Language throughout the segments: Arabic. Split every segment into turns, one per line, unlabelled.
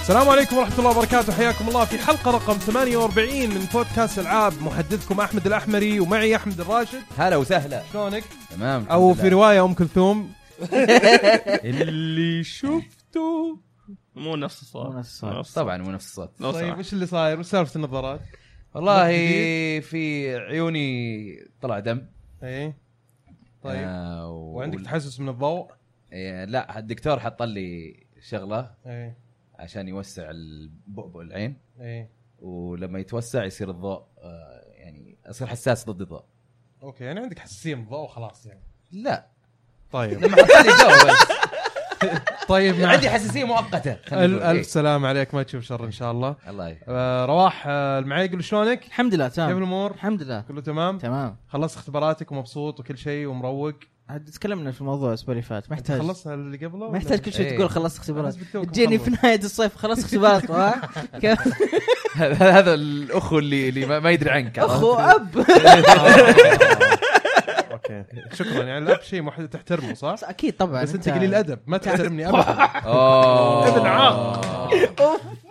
السلام عليكم ورحمة الله وبركاته حياكم الله في حلقة رقم 48 من بودكاست العاب محدثكم احمد الاحمري ومعي احمد الراشد
هلا وسهلا
شلونك؟
تمام
او
الحمد
في
لله.
رواية ام كلثوم
اللي شفته مو نفس الصوت
مو نفس الصوت. طبعا مو نفس الصوت
لو
طيب
سمحت
وش اللي صاير؟ وش سالفة النظارات؟
والله
جديد.
في عيوني طلع دم
اي إيه. طيب
آه و...
وعندك تحسس من الضوء؟
إيه، لا الدكتور حط لي شغله
اي
عشان يوسع البؤبؤ العين
اي
ولما يتوسع يصير الضوء آه يعني اصير حساس ضد الضوء
اوكي يعني عندك حساسية من الضوء وخلاص يعني
لا
طيب
لما حط لي جو بس
طيب مع
عندي حساسيه مؤقته خلينا
الف
نقول. إيه.
الف سلام عليك ما تشوف شر ان شاء الله
الله يحفظك.
آه، رواح آه، المعيقل شلونك؟ كيف
الحمد لله تمام
الامور؟
الحمد لله
كله تمام؟
تمام
خلصت اختباراتك ومبسوط وكل شيء ومروق
عاد تكلمنا في الموضوع الاسبوع اللي فات محتاج
خلصنا اللي قبله ولا-
محتاج كل شيء
إيه.
تقول خلصت اختبارات
أنا بس بتوكم
تجيني في
خلص.
نهايه الصيف خلصت اختبارات ها؟ ك-
هذا هذا الاخو اللي اللي ما- ما يدري عنك
اخو اب
آه. اوكي شكرا يعني الاب شيء مح- تحترمه صح؟
اكيد طبعا
بس انت قليل ادب ما تحترمني ابدا
اوه
ابن عاق.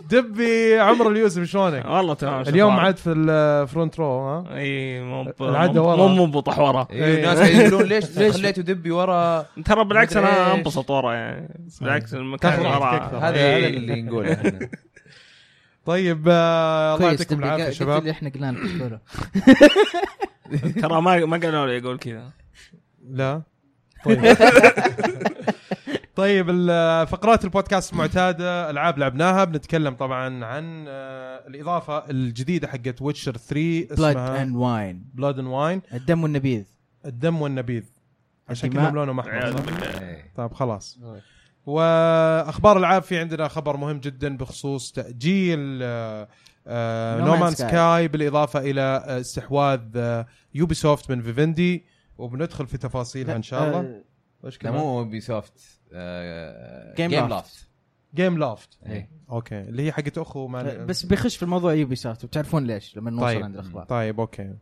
دبي عمرو اليوسف شلونك؟
والله تمام
اليوم عاد في الفرونت رو ها؟
اي مو ب-
العادة ورا.
مو منبطح ورا
ايوه ناس
إيه.
قاعدين يقولون ليش ليش خليته دبي ورا
ترى بالعكس
مدري
انا
إيش.
انبسط ورا يعني بالعكس المكان
كثر
اللي
أكثر.
ورا
هذا
إيه.
هذا اللي نقوله احنا
طيب آه، الله
كويس
يعطيكم
دبي،
العافيه
قلت
شباب
اللي احنا قلنا لك تقوله
ترى ما ما قالوا لي يقول كذا
لا طيب طيب ال- فقرات البودكاست المعتاده العاب لعبناها بنتكلم طبعا عن آه، الاضافه الجديده حقت ويتشر 3
بلاد
اسمها
اند واين
بلاد اند واين
الدم والنبيذ
الدم والنبيذ عشان
الدماء. نعم.
كلهم لونهم احمر
عياذ
صح؟
بالله.
إيه.
طيب خلاص واخبار العاب في عندنا خبر مهم جدا بخصوص آه، تاجيل
No
نومان
Man's Sky.
سكاي بالاضافه الى آه، استحواذ يوبي سوفت من فيفندي وبندخل في تفاصيلها ان شاء الله
آه،
وش
لا
كمان؟
مو بي سوفت آه،
Game
Game
Loft.
Loft.
جيم لافت
إيه.
اوكي اللي هي حقت اخو ما
آه، بس بيخش في الموضوع يوبي سوفت وبتعرفون ليش لما نوصل
طيب.
عند الاخبار
طيب اوكي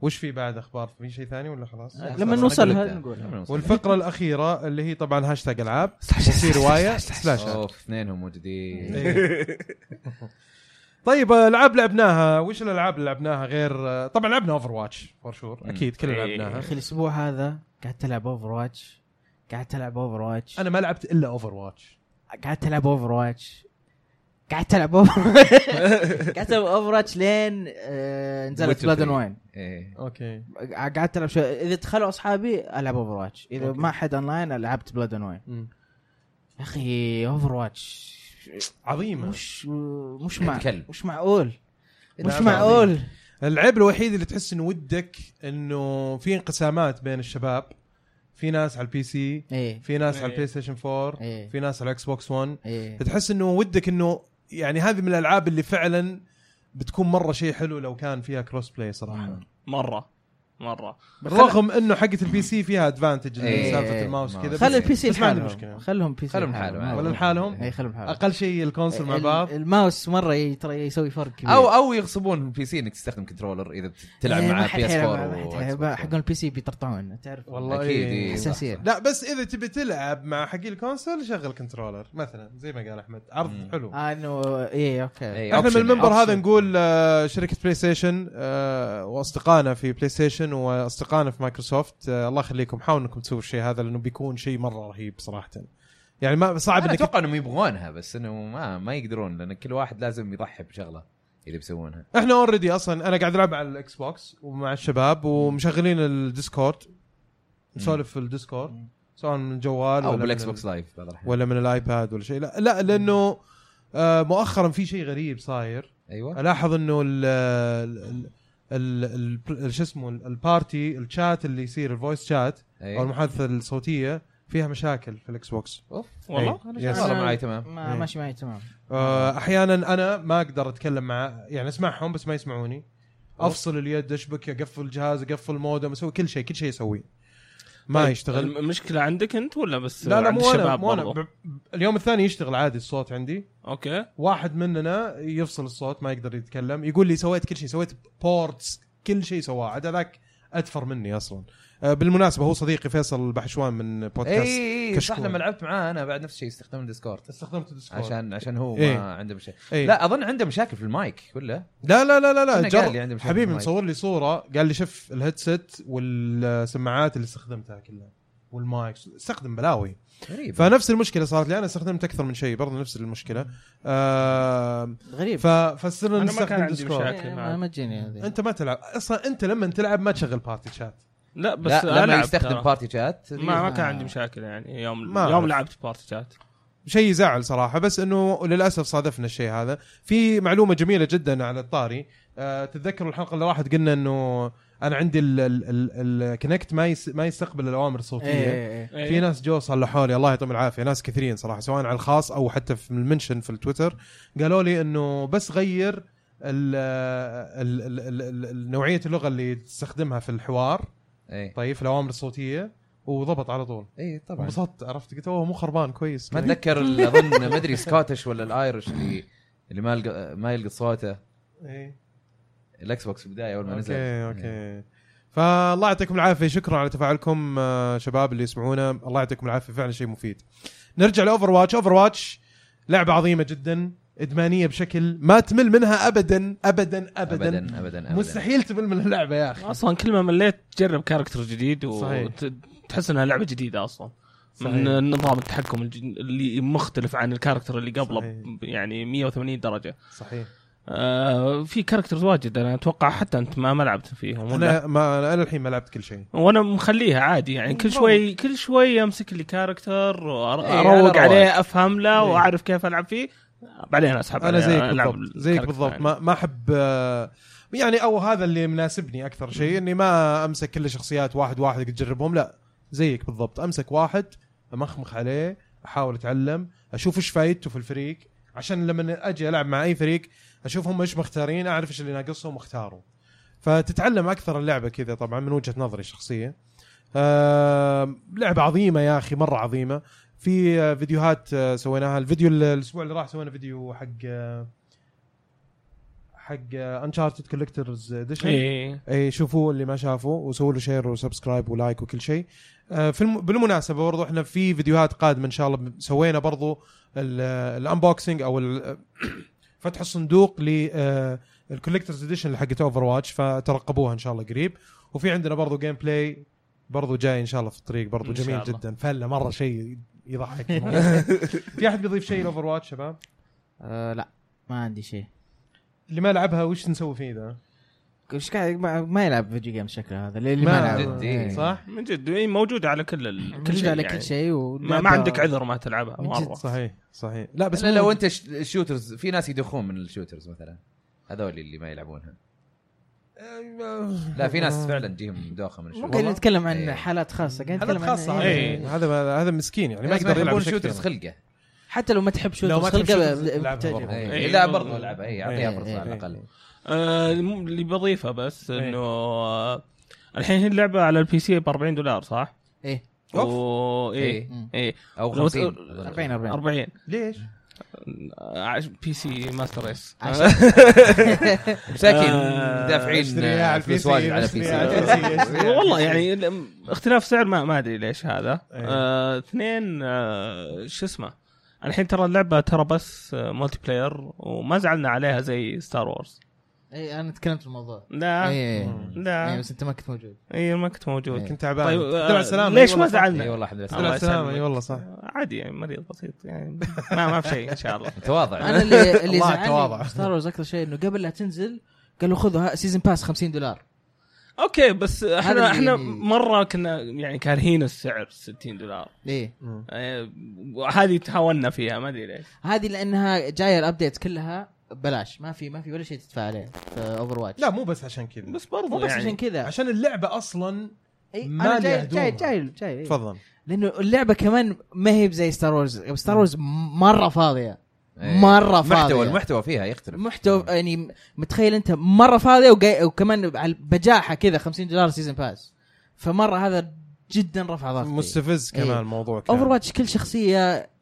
وش في بعد اخبار في شيء ثاني ولا خلاص
آه، لما نوصل
أنا قلت
هذا
لك.
نقول.
لما نوصل.
والفقره الاخيره اللي هي طبعا هاشتاج العاب في روايه سلاش
اوف اثنينهم موجودين
إيه. طيب العاب لعبناها وش الالعاب اللي لعبناها غير طبعا لعبنا اوفر واتش فور شور اكيد كلنا
إيه.
يا
لعبناها
اخي الاسبوع هذا قعدت العب اوفر واتش قعدت العب اوفر واتش
انا ما لعبت الا اوفر واتش
قعدت العب اوفر واتش قعدت العب اوفر قعدت العب اوفر واتش لين آه،
Witcher
نزلت بلاد
three.
اند واين
إيه.
اوكي
قعدت العب شوي اذا دخلوا اصحابي العب اوفر واتش اذا
أوكي.
ما حد اونلاين لعبت بلاد اند واين يا اخي اوفر واتش
إيه عظيمه
مش مش مع
كلب.
مش معقول مش
لعبة
معقول
العيب الوحيد اللي تحس انه ودك انه في انقسامات بين الشباب في ناس على البي سي
ايه
في ناس على
إيه.
البلاي ستيشن 4
ايه
في ناس على الاكس بوكس 1
ايه
تحس انه ودك انه يعني هذه من الالعاب اللي فعلا بتكون مره شيء حلو لو كان فيها كروس بلاي صراحه
مره مره
رغم انه حقه البي سي فيها ادفانتج
إيه،
سالفه
إيه،
الماوس كذا
ماوس.
خلي
بس-
البي سي
بس ما عندي
لحالهم
مشكلة.
خلهم بي سي
خلهم لحالهم.
ولا لحالهم؟
اي إيه، خلهم لحالهم
اقل شيء الكونسول مع
ال-
بعض
الماوس مره ي- ترى يسوي فرق كبير
او او يغصبون البي سي انك تستخدم كنترولر اذا بتلعب
إيه، ما
مع
حد
بي اس
حيلعب مع- ما حد حيلعب مع-
4
حقون البي سي بيطرطعون تعرف
والله
أكيد،
إيه.
إيه.
حساسيه
لا بس اذا تبي تلعب مع حقي الكونسول شغل كنترولر مثلا زي ما قال احمد عرض
مم.
حلو
آه، انه ايه اوكي
إيه،
احنا من
option
المنبر
يعني.
هذا نقول آه، شركه بلاي ستيشن آه، واصدقائنا في بلاي ستيشن واصدقائنا في مايكروسوفت آه، الله يخليكم حاولوا انكم تسووا الشيء هذا لانه بيكون شيء مره رهيب صراحه يعني ما صعب
انا
انك
اتوقع انهم يبغونها بس انه ما ما يقدرون لان كل واحد لازم يضحي بشغله اذا بيسوونها
احنا اوريدي اصلا انا قاعد العب على الاكس بوكس ومع الشباب ومشغلين الديسكورد نسولف في الديسكورد سواء من الجوال
او
ولا
بالاكس
من ال-
بوكس لايف بعض الأحيان.
ولا من الايباد ولا شيء لا لا لانه آه، مؤخرا في شيء غريب صاير
ايوه
الاحظ انه ال ال- ال- ال- شو اسمه ال- البارتي الشات اللي يصير الفويس شات او
أيوة.
المحادثه الصوتيه فيها مشاكل في الاكس بوكس
اوف
والله
إيه.
يس.
يس.
والله معي تمام
ما
إيه.
ماشي معي تمام
آه، احيانا انا ما اقدر اتكلم مع يعني اسمعهم بس ما يسمعوني افصل اليد اشبك اقفل الجهاز اقفل المودم اسوي كل شيء كل شيء اسويه ما
طيب،
يشتغل
المشكله عندك انت ولا بس
لا لا
عند
مو انا
الشباب
مو انا
برضو؟
ب- ب- اليوم الثاني يشتغل عادي الصوت عندي
اوكي
واحد مننا يفصل الصوت ما يقدر يتكلم يقول لي سويت كل شيء سويت بورتس كل شيء سواه عدا ذاك ادفر مني اصلا آه، بالمناسبه هو صديقي فيصل البحشوان من بودكاست
إيه.
اي اي إيه، صح
كشكول.
لما لعبت معاه انا بعد نفس الشيء استخدام الديسكورد
استخدمت الديسكورد
عشان عشان هو
إيه.
ما عنده مشاكل
إيه.
لا اظن عنده مشاكل في المايك ولا
لا لا لا لا لا
أنا
جرب.
قال لي عنده مشاكل
حبيبي
بالمايك.
مصور لي صوره قال لي شوف الهيدسيت والسماعات اللي استخدمتها كلها والمايك استخدم بلاوي
غريب
فنفس المشكله صارت لي انا استخدمت اكثر من شيء برضه نفس المشكله آه
غريب
ف- فصرنا
أنا ما كان
نستخدم
عندي
ديسكورد
مشاكل.
إيه، ما ما تجيني هذه
انت ما تلعب اصلا انت لما تلعب ما تشغل بارتي شات
لا بس
لا لما
ألعب
يستخدم
ترى.
بارتي شات
ما ما كان
آه.
عندي مشاكل يعني يوم
ما
يوم
أعرف.
لعبت بارتي شات
شيء يزعل صراحه بس انه للاسف صادفنا الشيء هذا في معلومه جميله جدا على الطاري أه تتذكروا الحلقه اللي راحت قلنا انه انا عندي الكونكت ما يس ما يستقبل الاوامر الصوتيه
إيه، إيه، إيه.
في ناس جو صلحوا لي الله يعطيهم العافيه ناس كثيرين صراحه سواء على الخاص او حتى في المنشن في التويتر قالوا لي انه بس غير ال- ال- ال- ال- ال- نوعيه اللغه اللي تستخدمها في الحوار
اي
طيب في الاوامر الصوتيه وضبط على طول
اي طبعا
انبسطت عرفت قلت اوه مو خربان كويس
إيه، ما اتذكر ال- اظن ما ادري سكوتش ولا الايرش اللي اللي ما يلقى ما يلقى صوته
إيه.
الاكس بوكس في البدايه اول ما نزل
اوكي اوكي يعني إيه. فالله يعطيكم العافيه شكرا على تفاعلكم آه، شباب اللي يسمعونا الله يعطيكم العافيه فعلا شيء مفيد نرجع لاوفر واتش اوفر واتش لعبه عظيمه جدا ادمانيه بشكل ما تمل منها ابدا ابدا ابدا, أبداً.
ابدا ابدا أبداً.
مستحيل تمل من اللعبه يا اخي
اصلا كل ما مليت تجرب كاركتر جديد
صحيح.
وتحس انها لعبه جديده اصلا
صحيح.
من نظام التحكم الج- اللي مختلف عن الكاركتر اللي قبله
صحيح.
ب- يعني 180 درجه
صحيح
آه في كاركترز واجد انا اتوقع حتى انت ما ما لعبت فيهم ولا
انا ما انا الحين ما لعبت كل شيء
وانا مخليها عادي يعني كل شوي كل شوي امسك لي كاركتر
إيه، على رواق.
واروق عليه افهم له
إيه.
واعرف كيف العب فيه بعدين اسحب
انا
عليه،
زيك
ألعب
بالضبط زيك
الكاركتر
بالضبط
يعني.
ما ما احب آه، يعني او هذا اللي مناسبني اكثر شيء اني ما امسك كل شخصيات واحد واحد تجربهم لا زيك بالضبط امسك واحد امخمخ عليه احاول اتعلم اشوف ايش فايدته في الفريق عشان لما اجي العب مع اي فريق اشوف هم ايش مختارين اعرف ايش اللي ناقصهم واختاره فتتعلم اكثر اللعبه كذا طبعا من وجهه نظري الشخصيه آه لعبه عظيمه يا اخي مره عظيمه في آه، فيديوهات آه، سويناها الفيديو ال- الاسبوع اللي راح سوينا فيديو حق آه، حق آه، انشارتد كولكترز اديشن
إيه.
اي شوفوه اللي ما شافه وسووا له شير وسبسكرايب ولايك وكل شيء آه، في الم... بالمناسبه برضو احنا في فيديوهات قادمه ان شاء الله ب- سوينا برضو الانبوكسنج او ال- فتح الصندوق للكوليكترز اديشن اللي حقت اوفر واتش فترقبوها ان شاء الله قريب وفي عندنا برضو جيم بلاي برضو جاي ان شاء الله في الطريق برضو
إن شاء
جميل
الله.
جدا فله مره شيء يضحك في احد بيضيف شيء لاوفر واتش شباب
آه، لا ما عندي شيء
اللي ما لعبها وش نسوي فيه ذا
ايش قاعد ما- ما يلعب فيديو جيم شكله هذا اللي اللي
ما-
ما يلعب
جد، إيه.
إيه.
صح
من جد إيه، موجوده على كل ال... كل
كل
شيء
على
يعني.
كل شيء
ما, ما عندك عذر ما تلعبها
من
مره
جد.
صحيح صحيح لا
بس
بس
لا لو
مو-
انت ش- الشوترز في ناس يدخون من الشوترز مثلا هذول اللي ما يلعبونها لا في ناس فعلا تجيهم دوخه من الشوترز
ممكن نتكلم عن
إيه.
حالات خاصه قاعد
هذا
نتكلم
خاصة
عن
إيه.
هذا هذا- هذا مسكين يعني ما
الناس
يقدر يلعب
يحبون
بشكل
الشوترز
يعني.
إيه، خلقه
حتى لو ما تحب شوت
لو ما تحب
خلقه
shooters، العبها
بتعجبك.
برضه.
إيه.
إيه.
لا برضو العبها اي اعطيها
إيه.
فرصه على
إيه.
الاقل
آه الم- اللي بضيفه بس
إيه.
انه آه الحين هي اللعبه على البي سي ب 40 دولار صح؟
ايه
أوف.
و... ايه
إيه.
مم.
ايه
او
لو ت-
50
40 40
40
ليش؟
آه، عش- بي سي ماستر ريس
عشان-
مساكين
آه،
دافعين
اشتريها على
فلوس
PC
واجد على بي
اشتريها
سي
على PC اشتريها على
والله
PC.
يعني ال- اختلاف سعر ما ما ادري ليش هذا
إيه.
آه اثنين آه شو اسمه الحين ترى اللعبه ترى بس آه، مولتي بلاير وما زعلنا عليها زي ستار وورز
ايه انا تكلمت في الموضوع
لا
إيه.
ايه
مم.
ايه
لا
بس انت ما كنت موجود
اي ما كنت موجود
إيه.
كنت تعبان
طيب،
طيب
آه،
على السلامة
ليش
إي
ما
والله صح.
زعلنا؟
اي والله الحمد لله
على
سلام.
الله
السلامة
يسلمك.
اي والله صح
عادي يعني مريض بسيط يعني ما ما في شيء ان شاء الله
متواضع
انا اللي اللي
الله
زعلني
يتواضع.
في ستار وورز اكثر شيء انه قبل لا تنزل قالوا خذوا سيزون باس 50 دولار
اوكي بس
اللي-
احنا احنا
اللي-
مره كنا يعني كارهين السعر 60 دولار
ليه
آه، وهذه تهاونا فيها ما ادري ليش
هذه لانها جايه الابديت كلها ببلاش ما في ما في ولا شيء تدفع عليه في اوفر واتش
لا مو بس عشان كذا
بس برضو
مو بس
يعني
عشان كذا
عشان اللعبة اصلا
إيه،
ما
انا
لي
جاي
هدومها.
جاي جاي جاي إيه.
تفضل
لانه اللعبه كمان ما هي زي ستار وورز ستار وورز مره فاضيه
إيه.
مرة فاضية.
المحتوى المحتوى فيها يختلف
محتوى يعني متخيل انت مره فاضيه وجاي وكمان على- بجاحه كذا 50 دولار سيزون باس فمره هذا جدا رفع ضغطي
مستفز كمان
إيه.
الموضوع كان
اوفر واتش كل شخصيه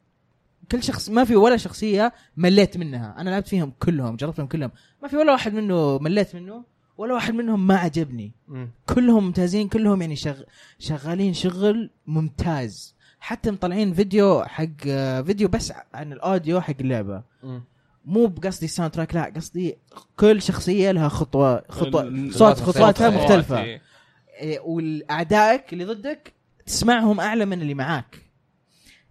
كل شخص ما في ولا شخصيه مليت منها انا لعبت فيهم كلهم جربتهم كلهم ما في ولا واحد منه مليت منه ولا واحد منهم ما عجبني
مم.
كلهم ممتازين كلهم يعني شغ... شغالين شغل ممتاز حتى مطلعين فيديو حق آه، فيديو بس عن الاوديو حق اللعبه
مم.
مو بقصدي الساوند تراك لا قصدي كل شخصيه لها خطوه خطوه
ال-
صوت
صوت-
خطواتها
صوت-
مختلفه
إيه.
إيه، والاعدائك اللي ضدك تسمعهم اعلى من اللي معاك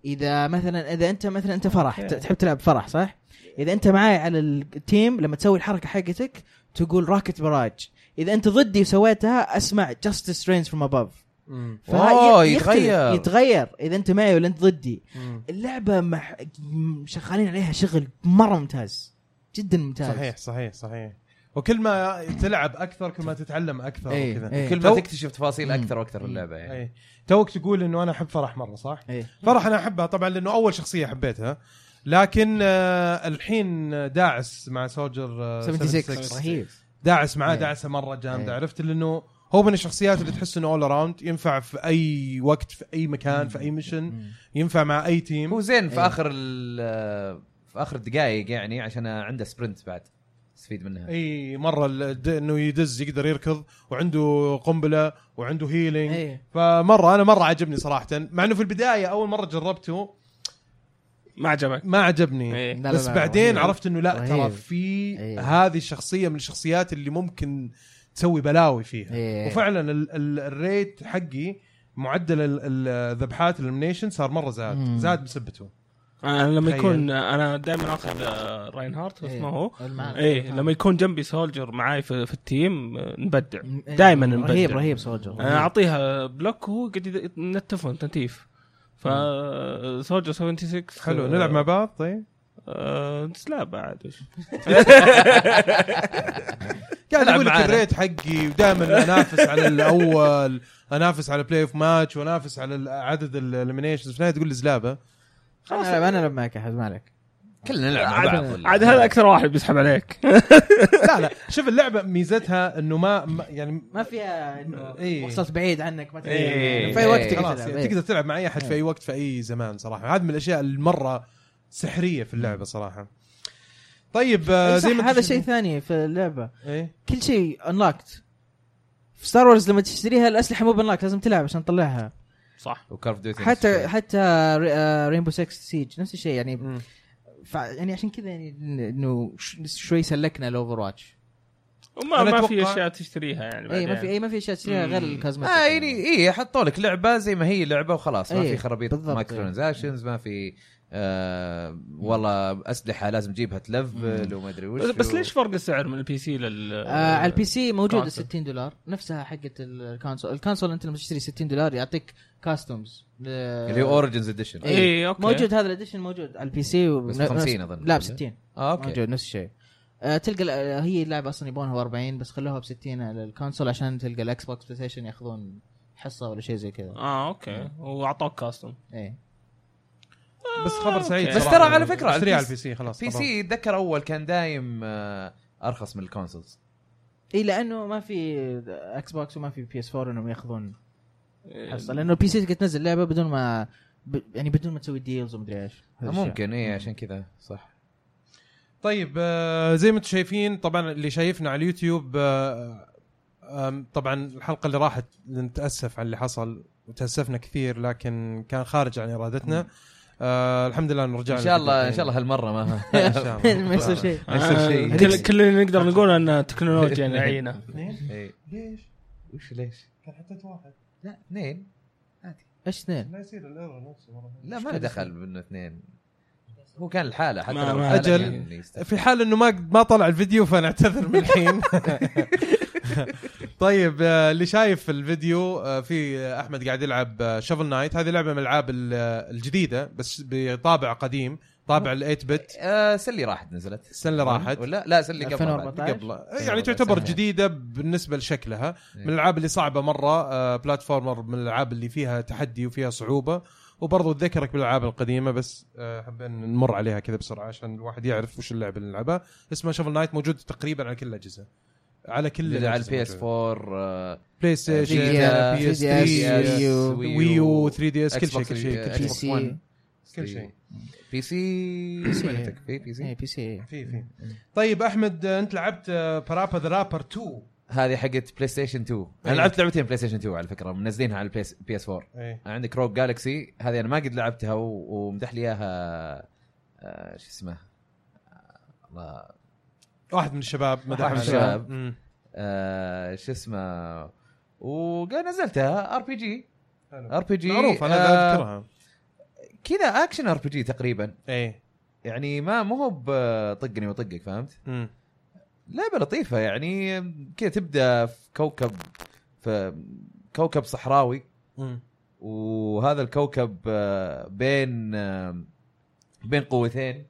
اذا مثلا اذا انت مثلا انت فرح
إيه.
ت- تحب تلعب فرح صح اذا انت معاي على التيم لما تسوي الحركه حقتك تقول راكت براج اذا انت ضدي وسويتها اسمع جاستس رينز فروم اباف
مم.
اوه يتغير
يتغير اذا انت معي ولا انت ضدي
مم.
اللعبه مح... م- شغالين عليها شغل مره ممتاز جدا ممتاز
صحيح صحيح صحيح وكل ما تلعب اكثر كل ما تتعلم اكثر
إيه،
وكذا
إيه.
كل ما
تو-
تكتشف تفاصيل
مم.
اكثر واكثر اللعبه يعني
اي توك تقول انه انا احب فرح مره صح؟
إيه.
فرح انا احبها طبعا لانه اول شخصيه حبيتها لكن آه الحين داعس مع سولجر آه
76 رهيب
داعس معاه
إيه.
داعسه مره جامده
إيه.
عرفت لانه هو من الشخصيات اللي تحس انه اول اراوند ينفع في اي وقت في اي مكان في اي ميشن
مم.
ينفع مع اي تيم
هو زين في
إيه.
اخر ال- في اخر الدقائق يعني عشان عنده سبرنت بعد استفيد منها
اي مره ال- د- انه يدز يقدر يركض وعنده قنبله وعنده هيلينج
إيه.
فمره انا مره عجبني صراحه مع انه في البدايه اول مره جربته
ما عجبك
ما عجبني
إيه.
لا، لا،
بس
لا،
بعدين
رهيب.
عرفت انه لا ترى
رهيب.
في
إيه.
هذه الشخصيه من الشخصيات اللي ممكن تسوي بلاوي فيها
إيه.
وفعلا ال ال الريت حقي معدل ال- ال- الذبحات الامنيشن صار مره زاد
مم.
زاد بسبته
انا لما
تخيل.
يكون انا دائما اخذ آه، راينهارت
إيه.
اسمه هو
آه.
المعركة.
ايه لما يكون جنبي سولجر معاي في, في التيم آه، نبدع
إيه.
دائما
رهيب
نبدع
رهيب سولجر
انا اعطيها بلوك وهو قاعد يد- ينتفهم تنتيف ف سولجر 76
حلو
إيه.
نلعب مع بعض طيب
آه، لا بعد وش
قاعد
العب
اقول يعني لك
معانا.
الريت حقي ودائما انافس على الاول انافس على بلاي اوف ماتش وانافس على ال- عدد الامنيشنز في النهايه تقول لي زلابه
خلاص انا ألعب- انا العب معك احد مالك
كلنا نلعب مع
عاد-
بعض ولا-
عاد هذا اكثر واحد بيسحب عليك
لا لا شوف اللعبه ميزتها انه ما ما- يعني
ما فيها انه
إيه.
وصلت بعيد عنك ما تقدر
إيه.
في اي وقت
إيه.
تقدر
خلاص
تلعب.
يعني
إيه.
تقدر تلعب مع اي احد في اي وقت في اي زمان صراحه هذا من الاشياء المره سحريه في اللعبه صراحه طيب آه،
إيه،
زي
صح،
ما إيه،
هذا شيء ثاني في اللعبه
ثاني
كل شيء انلاكت في ستار وورز لما تشتريها الاسلحه مو بانلاك لازم تلعب عشان تطلعها
صح
وكارف ديوتي
حتى حتى آه، رينبو 6 سيج نفس الشيء يعني فع- يعني عشان كذا يعني إن- انه ش- شوي سلكنا الاوفر واتش
وما
أنا
ما
أتوقع-
في اشياء تشتريها يعني
اي إيه، ما
بعدين.
في اي ما في اشياء تشتريها غير
مم.
ما
الكازمتكس
آه يعني اي حطوا لك لعبه زي ما هي لعبه وخلاص ما
إيه،
في خرابيط
بالضبط،
مايكرو
إيه.
ترانزاكشنز ما في آه والله اسلحه لازم تجيبها تلفل وما ادري وش
بس, بس
و-
ليش فرق السعر من البي سي لل
آه على البي سي موجوده
كونسول.
60 دولار نفسها حقت الكونسول الكونسول انت لما تشتري 60 دولار يعطيك كاستومز
اللي هو اوريجنز اديشن
إيه.
اي اوكي
موجود هذا الاديشن موجود على البي سي و...
بس
نفس-
50 اظن
لا ب 60
آه اوكي
موجود نفس الشيء آه تلقى ال- آه، هي اللعبه اصلا يبونها ب 40 بس خلوها ب 60 على الكونسول عشان تلقى الاكس بوكس بلاي ستيشن ياخذون حصه ولا شيء زي كذا
آه.
اه اوكي واعطوك كاستم
ايه
بس خبر سعيد
أوكي.
بس
صراحة.
ترى على فكرة على
اشتريها على
البي-
البي سي خلاص
بي
طبعاً.
سي اتذكر اول كان دايم آه ارخص من الكونسولز
اي لانه ما في اكس بوكس وما في بي اس 4 انهم ياخذون
إيه.
إيه.
حصه لانه البي سي تقدر تنزل لعبه بدون ما ب... يعني بدون ما تسوي ديلز ومدري ايش هذا الشيء.
ممكن اي عشان كذا صح
طيب آه، زي ما انتم شايفين طبعا اللي شايفنا على اليوتيوب آه، آم، طبعا الحلقه اللي راحت نتاسف على اللي حصل وتاسفنا كثير لكن كان خارج عن ارادتنا آه الحمد لله إنه رجعنا
ان شاء الله ان
للفيديو.
شاء الله هالمره ما
إن شاء الله.
ما يصير شيء
ما يصير شيء.
كل كل آه، اللي نقدر نقول يعني. ان التكنولوجيا لعينه
إيه.
ليش؟
وش ليش؟
كان حطيت واحد
لا اثنين
ايش اثنين؟
لا يصير الايرور نفسه مرة ثانية.
لا ما له دخل من اثنين هو كان الحالة حتى
ما-
لو يعني
ما-
الحالة
أجل.
كان يستحق.
في حال انه ما ما طلع الفيديو فنعتذر من الحين طيب آه، اللي شايف الفيديو آه، في آه، احمد قاعد يلعب شفل نايت هذه لعبه من الالعاب ال- آه، الجديده بس بطابع قديم طابع ال 8 بت
آه، سلي راحت نزلت
السنه اللي راحت
ولا لا سلي قبل
2014.
قبل
آه، يعني تعتبر
سنة.
جديده بالنسبه لشكلها من
إيه.
الالعاب اللي صعبه مره آه، بلاتفورمر من الالعاب اللي فيها تحدي وفيها صعوبه وبرضه تذكرك بالالعاب القديمه بس آه، حابين نمر عليها كذا بسرعه عشان الواحد يعرف وش اللعبه اللي نلعبها اسمها شفل نايت موجود تقريبا على كل الاجهزه على كل
اللي على
الأجهزة
البي آه، اس
موجودة.
4
بلاي ستيشن
فيديا،
بي اس
فيديا،
3
فيديا،
ويو 3 دي اس كل شيء كل شيء كل
بي
شيء
سي.
كل شيء.
بي سي
سي.
عندك في بي
اي
سي
بي سي
في في طيب احمد آه، انت لعبت آه، برابا ذا رابر 2
هذه حقت بلاي ستيشن 2 انا
أيوة.
لعبت لعبتين بلاي ستيشن 2 على فكره منزلينها على البي اس 4
ايه
عندك روك جالكسي هذه انا ما قد لعبتها و- ومدح لي اياها آه، شو اسمه آه، الله
واحد من الشباب مدح
واحد
عليه.
من الشباب.
مم.
آه، شو اسمه ونزلتها ار بي جي
حلو.
ار بي جي
معروف انا
آه،
اذكرها
كذا اكشن ار بي جي تقريبا
ايه
يعني ما مو هو بطقني وطقك فهمت؟
مم.
لعبه لطيفه يعني كذا تبدا في كوكب في كوكب صحراوي
مم.
وهذا الكوكب آه، بين آه، بين قوتين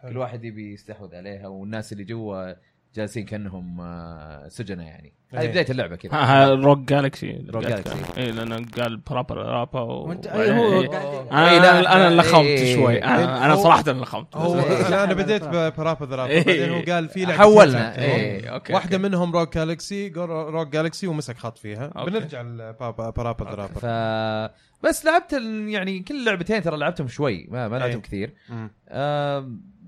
حلو.
كل واحد يبي يستحوذ عليها والناس اللي جوا جالسين كانهم آه، سجناء يعني هذه
إيه.
بدايه اللعبه كذا
آه، ها روك جالكسي
Rock Galaxy.
اي لانه إيه، قال برابا رابا و...
وانت اي أيوه، هو
إيه.
قاعد-
انا
إيه، لا،
انا انا اللي
إيه،
خمت
إيه،
شوي
إيه.
انا انا
هو-
صراحه اللي خمت
هو
إيه.
لا انا بديت برابا ذراب
إيه.
بعدين هو قال في لعبتين
حولنا
ساعتين.
إيه،
اوكي
واحده منهم روك جالكسي روك جالكسي ومسك خط فيها
أوكي.
بنرجع لبابا برابا
ف
ذراب
بس لعبت ال- يعني كل لعبتين ترى لعبتهم شوي ما, ما
أي.
لعبتهم كثير آم،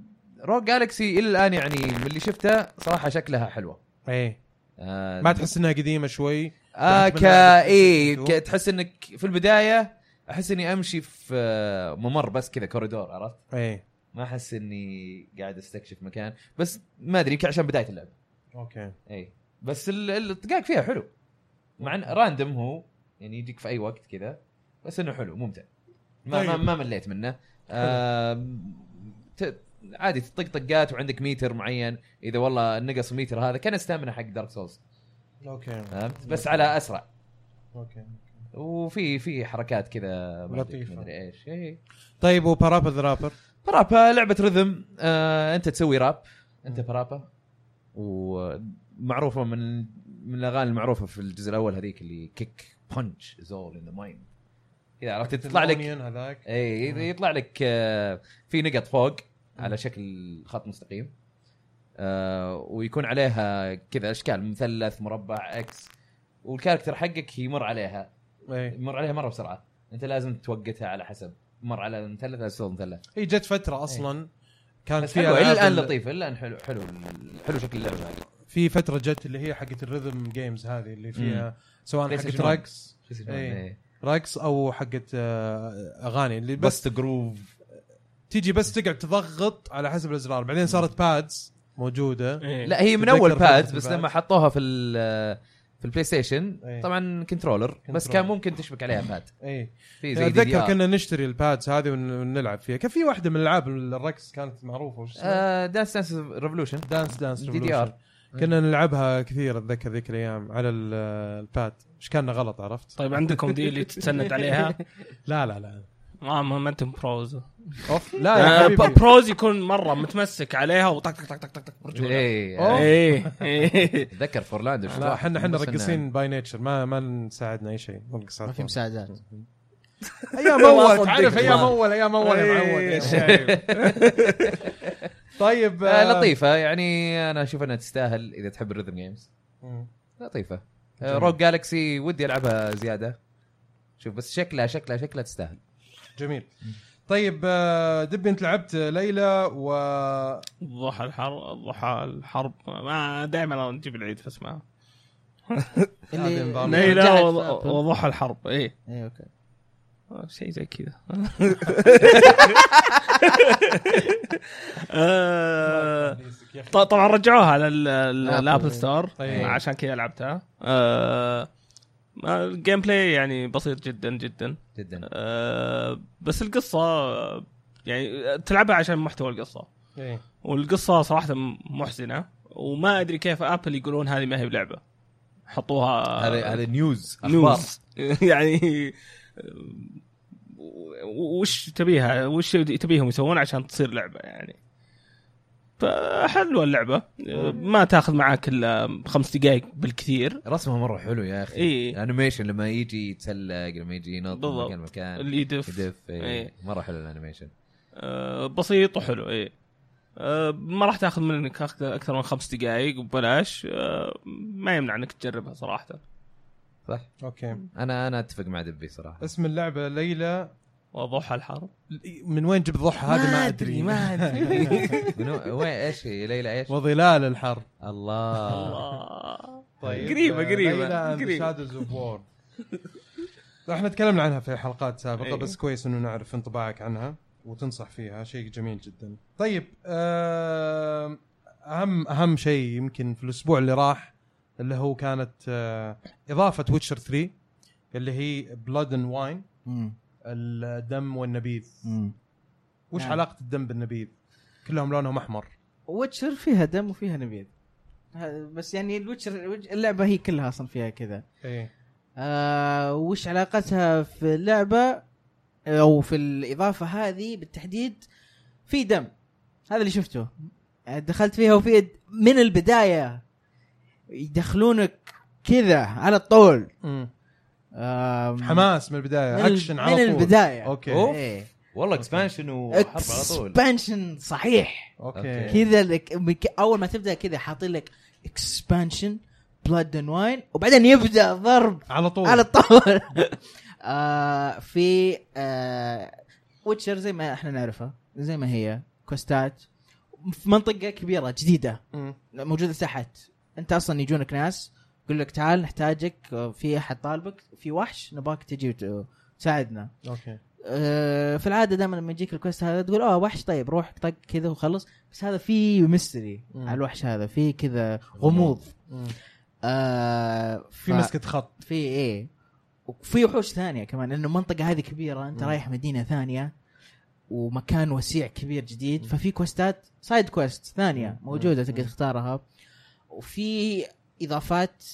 روك جالكسي الى الان يعني من اللي شفته صراحه شكلها حلوه
ايه
آه،
ما تحس انها قديمه شوي
آه
تحت من
ك
لعبة
اي
تو.
ك- تحس انك في البدايه احس اني امشي في آه، ممر بس كذا كوريدور عرفت
ايه
ما احس اني قاعد استكشف مكان بس ما ادري يمكن عشان بدايه اللعبه
اوكي
اي بس ال- ال- الطقاق فيها حلو مع انه راندم هو يعني يجيك في اي وقت كذا بس انه حلو ممتع ما ما,
طيب.
ما مليت منه آم، ت- عادي تطق طقات وعندك ميتر معين اذا والله نقص الميتر هذا كان استامنا حق دارك سولز
اوكي
فهمت بس على اسرع
اوكي
وفي في حركات كذا ما أدري-
لطيفة.
ما أدري ايش إيه.
طيب وبرابا ذرابر
برابا لعبه رذم آه، انت تسوي راب انت برابا ومعروفه من من الاغاني المعروفه في الجزء الاول هذيك اللي كيك بانش زول ان ذا مايند كذا عرفت تطلع لك
الأونيون هذاك
اي يطلع لك آه، في نقط فوق على شكل خط مستقيم آه، ويكون عليها كذا اشكال مثلث مربع اكس والكاركتر حقك يمر عليها
ايه
يمر عليها مره بسرعه انت لازم توقتها على حسب مر على مثلث على صوت مثلث
هي جت فتره اصلا كان
إيه. بس
في
حلو الى
ألعاب
الان
ال-
لطيفه الى الان حلو حلو حلو شكل اللعبه هذه.
في فتره جت اللي هي حقت الريذم جيمز هذه اللي فيها سواء
بلاي
حقت
ستيشن
راكس
شو اسمه؟
إيه.
إيه.
راكس او حقت آه، اغاني اللي بس
بس جروف
تيجي بس تقعد تضغط على حسب الازرار بعدين صارت بادز موجوده
إيه.
لا هي من
تتذكر
اول
فترة
باد بس
الباد.
لما حطوها في ال في البلاي ستيشن
إيه.
طبعا كنترولر بس
كنترولر.
كان ممكن تشبك عليها باد
اي
في زي دي
اتذكر
دي
إيه. كنا نشتري البادز هذه ون- ونلعب فيها كان في واحده من العاب الركس كانت معروفه وش اسمها؟
آه دانس دانس ريفولوشن
دانس دانس
دي دي
Revolution.
آر.
كنا نلعبها كثير اتذكر ذيك الايام على ال- الباد ايش كان غلط عرفت
طيب عندكم دي اللي تتسند عليها
لا لا لا
ما ما ما انتم بروز
اوف لا يا
آه،
حبيبي
ب- بروز يكون مره متمسك عليها وطق طق طق طق طق طق برجوله
ايه
إيه. أوه.
ايه إيه.
اتذكر فورلاند شفت
لا
واحد
احنا احنا
بس إنه-
رقصين باي نيتشر ما ما نساعدنا اي شيء نرقص
ما
على
في
طول.
مساعدات
ايام
والله
اول تعرف
صدق
ايام
والله.
اول ايام اول يا معود
إيه،
يا شايب. طيب
آه،
آه،
لطيفه يعني انا اشوف انها تستاهل اذا تحب الريذم جيمز
مم.
لطيفه
جميل.
روك جالكسي آه، ودي العبها زياده شوف بس شكلها شكلها شكلها تستاهل
جميل طيب آه، دبي انت لعبت ليلى و
الضحى الحرب الضحى الحرب ما دائما نجيب العيد في اسمها
هذه
اللي
نظام.
اللي
ليلى
رجعت
وض-
في أبل.
وضحى الحرب ايه
إيه، أوكي.
شيء زي كذا آه،
إيه.
ط- طبعا رجعوها للابل
آبل.
ستور
طيب.
عشان كذا لعبتها آه، ما- الجيم بلاي يعني بسيط جدا جدا
جدا
آه، بس القصه آه، يعني تلعبها عشان محتوى القصه
إيه.
والقصه صراحه محزنه وما ادري كيف ابل يقولون هذه ما هي بلعبه حطوها
هذا هذا نيوز اخبار
نيوز يعني و- وش تبيها وش تبيهم يسوون عشان تصير لعبه يعني فحلوه اللعبه ما تاخذ معاك الا خمس دقائق بالكثير
رسمه مره حلو يا اخي
إيه.
الانيميشن لما يجي يتسلق لما يجي ينط من
بالضبط.
مكان مكان
اللي يدف
يدف إيه.
إيه.
مره حلو الانيميشن
آه، بسيط وحلو اي ما راح تاخذ منك أك- اكثر من خمس دقائق وببلاش آه، ما يمنع انك تجربها صراحه
صح
اوكي
انا انا اتفق مع دبي صراحه
اسم اللعبه ليلى
وضحى الحرب
من وين جبت ضحى هذه ما ادري
ما ادري
منو- وين ايش هي ليلى ايش
وظلال الحرب
آه. الله
الله
طيب
آه،
قريبة- قريبة- قريبة.
شادوز اوف وور احنا تكلمنا عنها في حلقات سابقه
إيه.
أي.
بس كويس انه نعرف انطباعك عنها وتنصح فيها شيء جميل جدا طيب آم، اهم اهم شيء يمكن في الاسبوع اللي راح اللي هو كانت آه، اضافه ويتشر 3 اللي هي بلاد اند واين
مم.
الدم والنبيذ
مم.
وش
نعم.
علاقه الدم بالنبيذ كلهم لونهم احمر
ويتشر فيها دم وفيها نبيذ ه- بس يعني الويتشر اللعبه هي كلها اصلا فيها كذا
ايه
إيه. آه وش علاقتها في اللعبه او في الاضافه هذه بالتحديد في دم هذا اللي شفته يعني دخلت فيها وفي د- من البدايه يدخلونك كذا على الطول
مم.
آم،
حماس من البدايه
من,
اكشن
ال-
على
من
طول
البدايه
اوكي
أوف.
إيه.
والله اكسبانشن وحرب على طول
اكسبانشن صحيح
اوكي
أوكي.
كذا لك مك- اول ما تبدا كذا حاطين لك اكسبانشن بلاد اند واين وبعدين يبدا ضرب
على طول
على الطاوله آه في آه ويتشر زي ما احنا نعرفها زي ما هي كوستات في منطقه كبيره جديده
مم.
موجوده تحت انت اصلا يجونك ناس يقول لك تعال نحتاجك آه، في احد طالبك في وحش نباك تجي وت- آه، وتساعدنا
اوكي
آه، في العاده دائما لما يجيك الكويست هذا تقول اه وحش طيب روح طق كذا وخلص بس هذا في ميستري
مم.
على الوحش هذا في كذا غموض
مم.
آه
في مسكه خط
في ايه وفي وحوش ثانيه كمان لانه المنطقه هذه كبيره انت
مم.
رايح مدينه ثانيه ومكان وسيع كبير جديد
مم.
ففي كوستات سايد كويست ثانيه
مم.
موجوده
مم.
تقدر تختارها وفي اضافات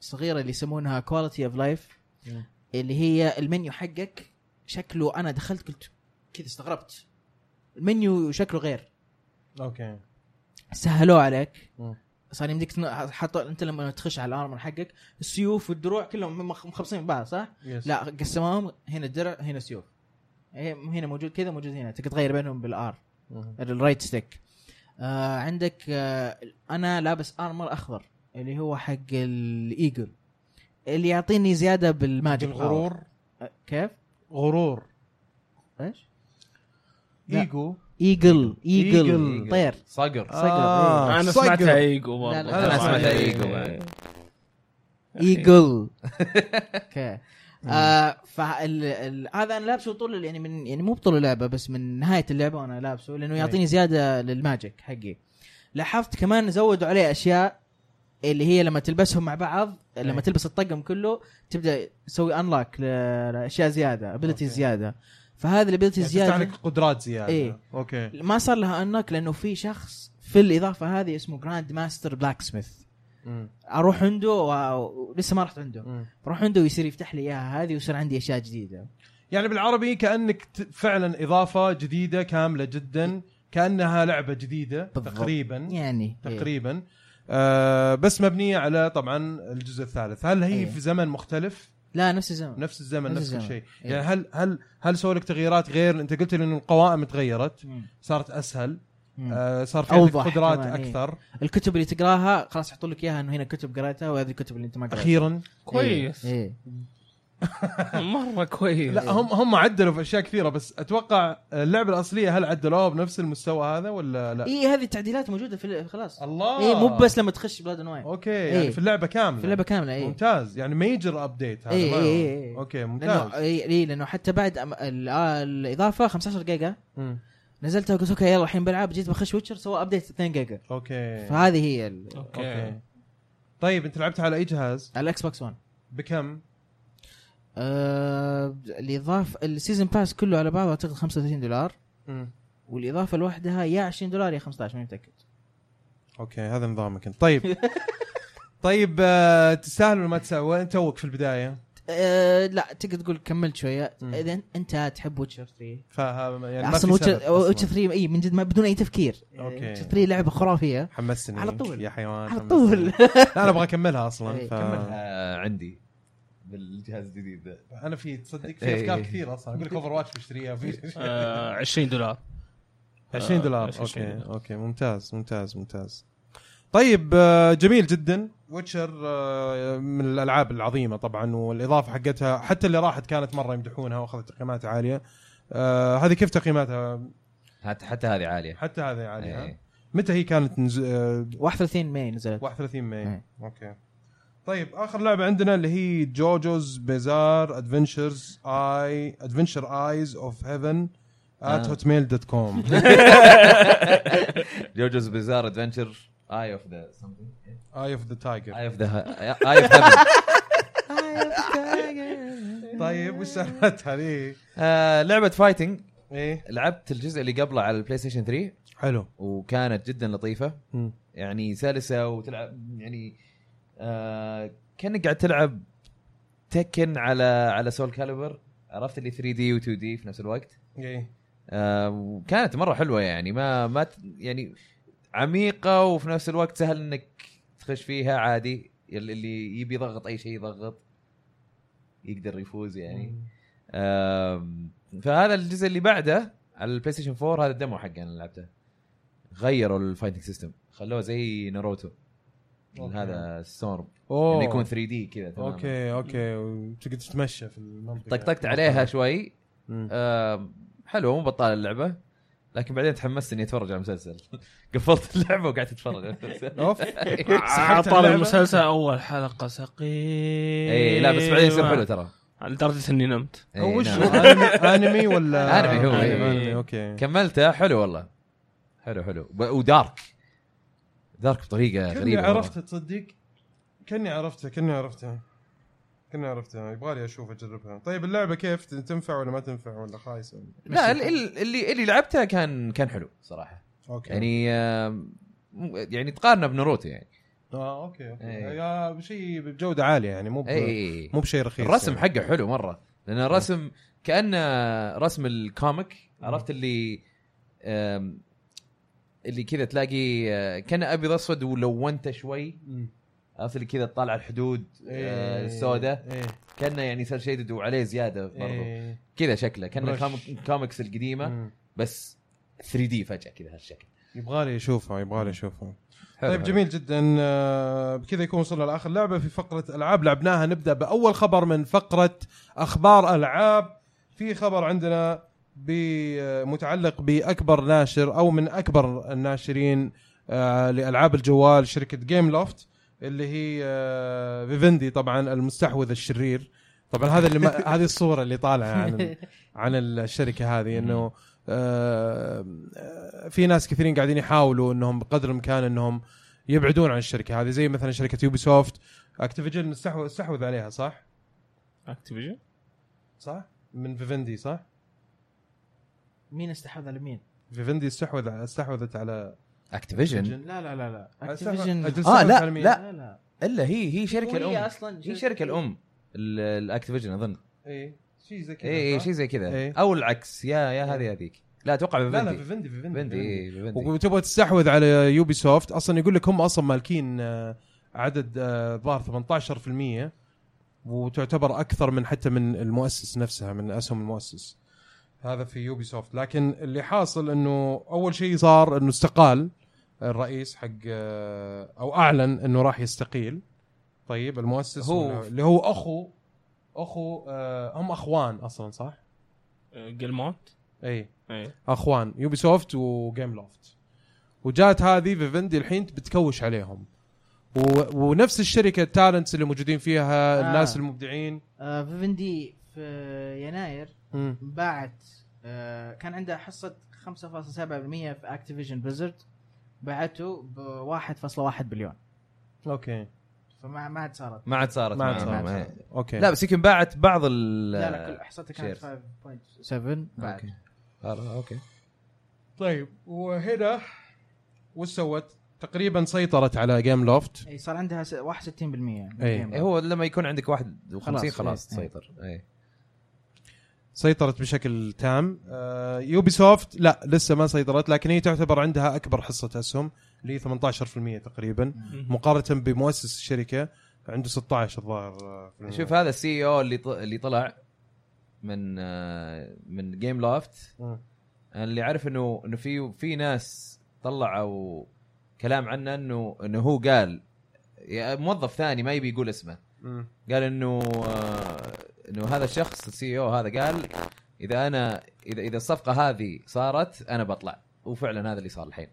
صغيره اللي يسمونها كواليتي اوف لايف
مم.
اللي هي المنيو حقك شكله انا دخلت قلت كذا استغربت المنيو شكله غير
اوكي
سهلوه عليك
مم.
صار يمديك تن- حط انت لما تخش على الارمر حقك السيوف والدروع كلهم مخ- مخبصين في بعض صح؟
يس.
لا قسموهم هنا درع هنا سيوف هي- هنا موجود كذا موجود هنا تقدر تغير بينهم بالار
مم.
الرايت ستيك آه عندك آه انا لابس ارمر اخضر اللي هو حق الايجل اللي يعطيني زياده بالماجيك باور.
الغرور
آه، كيف؟
غرور
ايش؟ لا.
ايجو
ايجل ايجل
إيجل.
طير
صقر
آه،
انا سمعتها إيه. آه، ايجو برضه
لا، لا،
أنا سمعتها
إيجو.
ايجل اوكي آه فال ال- هذا انا لابسه طول يعني من يعني مو بطول اللعبه بس من نهايه اللعبه وانا لابسه
إيه.
لانه يعطيني زياده للماجيك حقي لاحظت كمان زودوا عليه اشياء اللي هي لما تلبسهم مع بعض لما
أي.
تلبس الطقم كله تبدا تسوي انلاك لاشياء زياده ابيلتي
أوكي.
زياده فهذه الابيلتي
يعني تفتح
زياده
لك قدرات زياده
إيه.
اوكي
ما صار لها انلاك لانه في شخص في الاضافه هذه اسمه جراند ماستر بلاك سميث
مم.
اروح عنده و- ولسه ما رحت عنده
مم.
اروح عنده ويصير يفتح لي اياها هذه ويصير عندي اشياء جديده
يعني بالعربي كانك ت- فعلا اضافه جديده كامله جدا كانها لعبه جديده
بالضبط.
تقريبا
يعني
تقريبا آه بس مبنيه على طبعا الجزء الثالث هل هي
إيه.
في زمن مختلف
لا نفس الزمن
نفس الزمن
نفس
نفس كل
الزمن.
شيء
إيه.
يعني هل هل هل سووا لك تغييرات غير انت قلت لي انه القوائم تغيرت صارت اسهل
آه.
آه صار في
أوضح
عندك قدرات
كمان، إيه.
اكثر
الكتب اللي تقراها خلاص يحطوا لك اياها انه هنا كتب قريتها وهذه الكتب اللي انت ما قريتها
اخيرا
كويس
إيه. إيه.
مره كويس
لا هم هم عدلوا في اشياء كثيره بس اتوقع اللعبه الاصليه هل عدلوها بنفس المستوى هذا ولا لا؟
اي إيه، هذه التعديلات موجوده في ال- خلاص
الله
اي إيه. مو بس لما تخش بلاد اند واين
اوكي يعني
إيه.
في اللعبه كامله
في إيه. اللعبه كامله اي
ممتاز يعني ميجر ابديت هذا
إيه،
ما-
إيه، إيه.
اوكي
لانه
ممتاز
اي إي، لانه حتى بعد أم- ال- آه، الاضافه 15 جيجا
مم.
نزلتها وقلت اوكي يلا الحين بلعب جيت بخش ويتشر سوى ابديت 2 جيجا
اوكي
فهذه هي ال-
اوكي
اوكي
طيب انت لعبتها على اي جهاز؟
على الاكس بوكس 1
بكم؟
آه، الاضافه السيزون باس كله على بعضه اعتقد 35 دولار
مم.
والاضافه لوحدها يا 20 دولار يا 15 ماني متاكد
اوكي هذا نظامك انت طيب طيب آه، تستاهل ولا ما تستاهل وين توك في البدايه؟
أه لا تقدر تقول كملت شويه
مم.
اذا انت تحب ويتشر 3
فها يعني ما في
اصلا
سبب
ويتشر
أصلاً.
ويتشر 3 اي من جد ما بدون اي تفكير
أوكي.
ويتشر 3 لعبه خرافيه
حمستني
على طول.
يا حيوان
على
حمستني.
طول
لا انا ابغى اكملها اصلا
إيه،
ف...
كملها.
آه، عندي بالجهاز الجديد ذا
انا في تصدق في
إيه.
افكار كثير اصلا اقول لك اوفر واتش بشتريها في
آه، 20 دولار
20 دولار
20
اوكي
دولار.
اوكي ممتاز ممتاز ممتاز طيب آه، جميل جدا ويتشر من الالعاب العظيمه طبعا والاضافه حقتها حتى اللي راحت كانت مره يمدحونها واخذت تقييمات عاليه آه، هذه كيف تقييماتها
حتى حتى هذه عاليه
حتى هذه عاليه
إيه.
ها؟ متى هي كانت نز... آه،
31 ماي نزلت
31 ماي
إيه.
اوكي طيب اخر لعبه عندنا اللي هي جوجوز بيزار ادفنشرز اي ادفنشر ايز اوف هيفن ات
آه.
هوتميل دوت كوم
جوجوز بيزار ادفنتشر اي اوف ذا
اي اوف ذا تايجر
اي اوف ذا اي اوف ذا
طيب وش سالفتها ليه؟
آه، لعبه فايتنج
ايه
لعبت الجزء اللي قبله على البلاي ستيشن 3
حلو
وكانت جدا لطيفه
مم.
يعني سلسه وتلعب يعني آه كانك قاعد تلعب تكن على على سول كاليبر عرفت اللي 3 دي و2 دي في نفس الوقت
ايه
آه وكانت مره حلوه يعني ما ما ت- يعني عميقه وفي نفس الوقت سهل انك تخش فيها عادي اللي- اللي يبي يضغط اي شيء يضغط يقدر يفوز يعني آم، فهذا الجزء اللي بعده على البلاي ستيشن 4 هذا الدمو حقه انا لعبته غيروا الفايتنج سيستم خلوه زي ناروتو
أوكي.
هذا ستورم
اوه
انه يعني يكون 3 دي كذا تمام
اوكي اوكي وتقدر تتمشى في المنطقه
طقطقت عليها شوي
مم.
آم، حلوه مو بطاله اللعبه لكن بعدين تحمست اني اتفرج على المسلسل قفلت اللعبه وقعدت اتفرج على المسلسل
اوف سحبت
عطال
اللعبة؟
المسلسل اول حلقه
إيه.
ثقيل
اي إيه، لا بس بعدين يصير حلو ترى
لدرجه اني نمت
إي،
هو وش
نعم.
أنمي- انمي ولا
أنمي هو، إيه.
انمي اوكي
كملته حلو والله حلو حلو ب- ودارك دارك بطريقه
كني
غريبه مرة.
عرفته تصدق كني عرفته كني عرفته كني عرفتها يبغالي اشوف اجربها طيب اللعبه كيف تنفع ولا ما تنفع ولا خايسه
لا ال- ال- اللي اللي لعبته كان كان حلو صراحه
اوكي
يعني آم، يعني تقارنه بناروتو يعني
اه اوكي اوكي
إيه.
يا شيء بجوده عاليه يعني مو ب...
اي اي إي.
مو بشيء رخيص
الرسم
يعني.
حقه حلو مره لان الرسم كانه رسم الكوميك عرفت اللي آم، اللي كذا تلاقي آه، كانه ابيض اسود ولونته شوي
مم.
عرفت اللي كذا طالع الحدود آه،
إيه.
السوداء
ايه
كانه يعني صار شيدد وعليه زياده برضو
إيه.
كذا شكله كانه
برش.
الكوميك- الكوميكس القديمه
مم.
بس 3 دي فجاه كذا هالشكل
يبغالي اشوفها يبغالي اشوفها
حلو
طيب
حلو.
جميل جدا آه، بكذا يكون وصلنا لاخر لعبه في فقره العاب لعبناها نبدا باول خبر من فقره اخبار العاب في خبر عندنا ب- آه، متعلق باكبر ناشر او من اكبر الناشرين آه، لالعاب الجوال شركه جيم لوفت اللي هي آه، فيفندي طبعا المستحوذ الشرير طبعا هذا اللي ما هذه الصوره اللي طالعه عن عن الشركه هذه انه آه، آه، في ناس كثيرين قاعدين يحاولوا انهم بقدر الامكان انهم يبعدون عن الشركه هذه زي مثلا شركه يوبي سوفت اكتيفيجن استحوذ استحوذ عليها صح؟
اكتيفيجن
صح؟ من فيفندي صح؟
مين استحوذ على مين؟
فيفندي استحوذ استحوذت على
اكتيفيجن
لا لا لا لا
أجل
اكتيفيجن
استحوذت
آه، لا،
على مين؟
لا.
لا
الا هي هي شركه
هي
الام
اصلا
هي شركه الام ال- الاكتيفيجن اظن
اي إيه. شيء زي كذا
اي اي
صح؟
شيء زي
إيه.
كذا او العكس يا يا هذه هذيك لا اتوقع
لا لا
بفندي
فيفندي فيفندي
بفندي إيه، بفندي
وتبغى تستحوذ على يوبي سوفت اصلا يقول لك هم اصلا مالكين آه، عدد آه، ظاهر 18% وتعتبر اكثر من حتى من المؤسس نفسها من اسهم المؤسس هذا في يوبي سوفت لكن اللي حاصل انه اول شيء صار انه استقال الرئيس حق آه، او اعلن انه راح يستقيل طيب المؤسس
هو-
هو اللي هو اخو اخو آه، هم اخوان اصلا صح؟
آه،
إيه.
جلمونت
اي
اي
اخوان يوبي سوفت وجيم لوفت وجات هذه فيفندي الحين بتكوش عليهم و... ونفس الشركه التالنتس اللي موجودين فيها
آه.
آه. الناس المبدعين
فيفندي آه، في يناير
مم.
باعت آه، كان عندها حصه 5.7% في اكتيفيجن بليزرد باعته ب 1.1 بليون
اوكي
فما ما عاد صارت
ما عاد صارت
ما عاد
معهم،
صارت.
إيه.
اوكي
لا بس يمكن باعت بعض ال
لا لا كل حصتها كانت
shares.
5.7 بعد
اوكي آه، اوكي
طيب وهنا وش سوت؟ تقريبا سيطرت على جيم لوفت
اي صار عندها س- 61% من
إي.
الجيم.
إيه، هو لما يكون عندك 51
خلاص،
خلاص
إيه، إيه.
تسيطر إيه.
سيطرت بشكل تام آه يوبي سوفت لا لسه ما سيطرت لكن هي تعتبر عندها اكبر حصه اسهم اللي هي 18% تقريبا مقارنه بمؤسس الشركه عنده 16 الظاهر آه، في المية.
شوف هذا السي او اللي ط- اللي طلع من آه، من جيم لوفت
مم.
انا اللي اعرف انه انه في في ناس طلعوا كلام عنه انه انه هو قال يا موظف ثاني ما يبي يقول اسمه
مم.
قال انه آه، انه هذا الشخص السي او هذا قال اذا انا اذا اذا الصفقه هذه صارت انا بطلع وفعلا هذا اللي صار الحين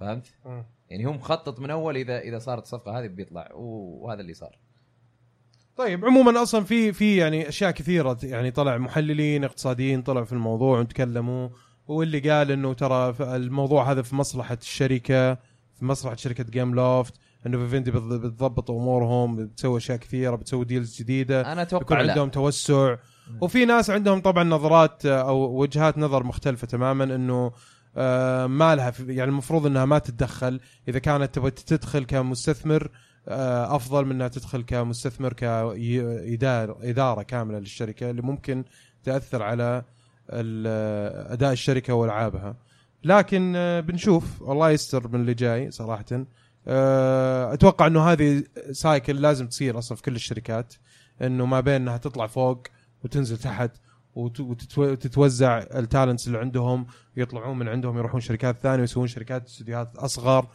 فهمت؟ يعني هو مخطط من اول اذا اذا صارت الصفقه هذه بيطلع وهذا اللي صار
طيب عموما اصلا في في يعني اشياء كثيره يعني طلع محللين اقتصاديين طلعوا في الموضوع وتكلموا واللي قال انه ترى ف- الموضوع هذا في مصلحه الشركه في مصلحه شركه جيم لوفت انه فيفندي بتض- بتضبط امورهم بتسوي اشياء كثيره بتسوي ديلز جديده
انا
يكون
اتوقع لا
عندهم توسع وفي ناس عندهم طبعا نظرات او وجهات نظر مختلفه تماما انه آه، ما لها في- يعني المفروض انها ما تتدخل اذا كانت تبغى تدخل كمستثمر آه، افضل من انها تدخل كمستثمر كاداره اداره كامله للشركه اللي ممكن تاثر على ال- آه، اداء الشركه والعابها لكن آه، بنشوف الله يستر من اللي جاي صراحه آه، اتوقع انه هذه سايكل لازم تصير اصلا في كل الشركات انه ما بين انها تطلع فوق وتنزل تحت وت- وتتو- وتتوزع التالنتس اللي عندهم يطلعون من عندهم يروحون شركات ثانيه ويسوون شركات استديوهات اصغر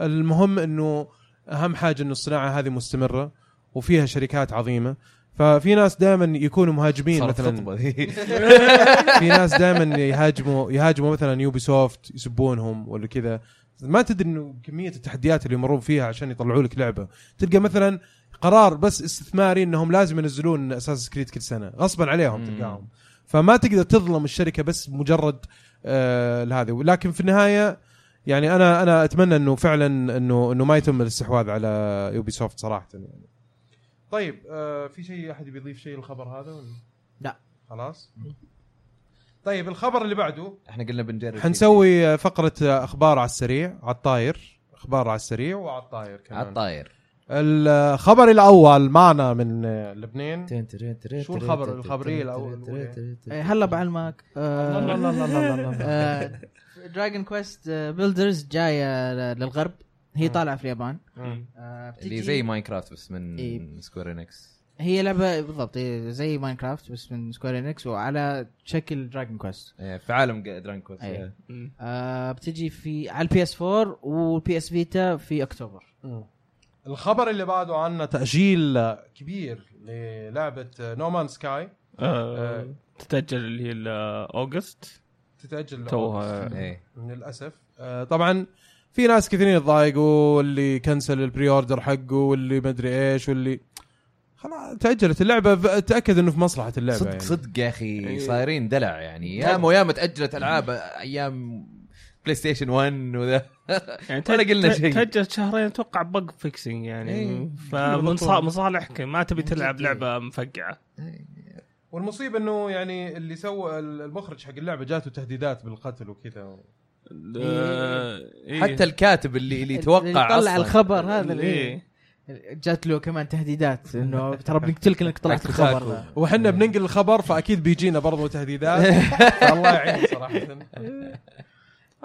المهم انه اهم حاجه انه الصناعه هذه مستمره وفيها شركات عظيمه ففي ناس دائما يكونوا مهاجمين
صارت
مثلا
خطبه ذي
في ناس دائما يهاجموا يهاجموا مثلا يوبي سوفت يسبونهم ولا كذا ما تدري انه كميه التحديات اللي يمرون فيها عشان يطلعوا لك لعبه تلقى مثلا قرار بس استثماري انهم لازم ينزلون اساس كريد كل سنه غصبا عليهم
مم.
تلقاهم فما تقدر تظلم الشركه بس مجرد آه هذا ولكن في النهايه يعني انا انا اتمنى انه فعلا انه انه ما يتم الاستحواذ على يوبي سوفت صراحه يعني طيب آه في شيء احد بيضيف شيء للخبر هذا ولا
لا.
خلاص طيب الخبر اللي بعده
احنا قلنا بنجرب
حنسوي فقره اخبار على السريع على الطاير اخبار على السريع وعلى الطاير
على
كمان
الطاير
الخبر الاول معنا من لبنان شو الخبر- الخبرية
آه، هلا بعلمك آه، آه، دراجون كويست آه، بيلدرز جايه ل- للغرب هي
مم.
طالعه في اليابان
مم.
آه، بتجي-
اللي زي ماينكرافت بس من
إيه.
سكوير انكس
هي لعبه بالضبط هي زي ماينكرافت بس من سكوير انكس وعلى شكل دراجون كويست
إيه، في عالم درانك كويست
إيه.
إيه.
آه بتجي في على البي اس 4 والبي اس فيتا في اكتوبر
مم. الخبر اللي بعده عنا تاجيل كبير للعبه نومان سكاي
آه، تتاجل اللي هي ل- اوغست
تتاجل
توها
إيه.
من للاسف آه، طبعا في ناس كثيرين يتضايقوا واللي كنسل البري اوردر حقه واللي مدري ايش واللي خلاص تاجلت اللعبه ف- تاكد انه في مصلحه اللعبه
صدق
يعني.
صدق يا اخي
إيه.
صايرين دلع يعني ياما وياما تاجلت العاب ايام بلاي ستيشن 1 وذا
يعني
ولا
تأج-
قلنا شيء.
تاجلت شهرين اتوقع بق فيكسنج يعني
إيه.
فمن صا-
بالضبط.
مصالحك ما تبي تلعب
جد إيه.
لعبه مفقعه
والمصيبه انه يعني اللي سوى المخرج حق اللعبه جاته تهديدات بالقتل وكذا
آه، إيه.
حتى الكاتب اللي اللي توقع
طلع
اصلا
الخبر هذا اللي
إيه.
جات له كمان تهديدات انه ترى بنقتلك انك طلعت الخبر
أتخاكم.
ذا
وحنا بننقل الخبر فاكيد بيجينا برضو تهديدات
إيه.
الله يعين صراحه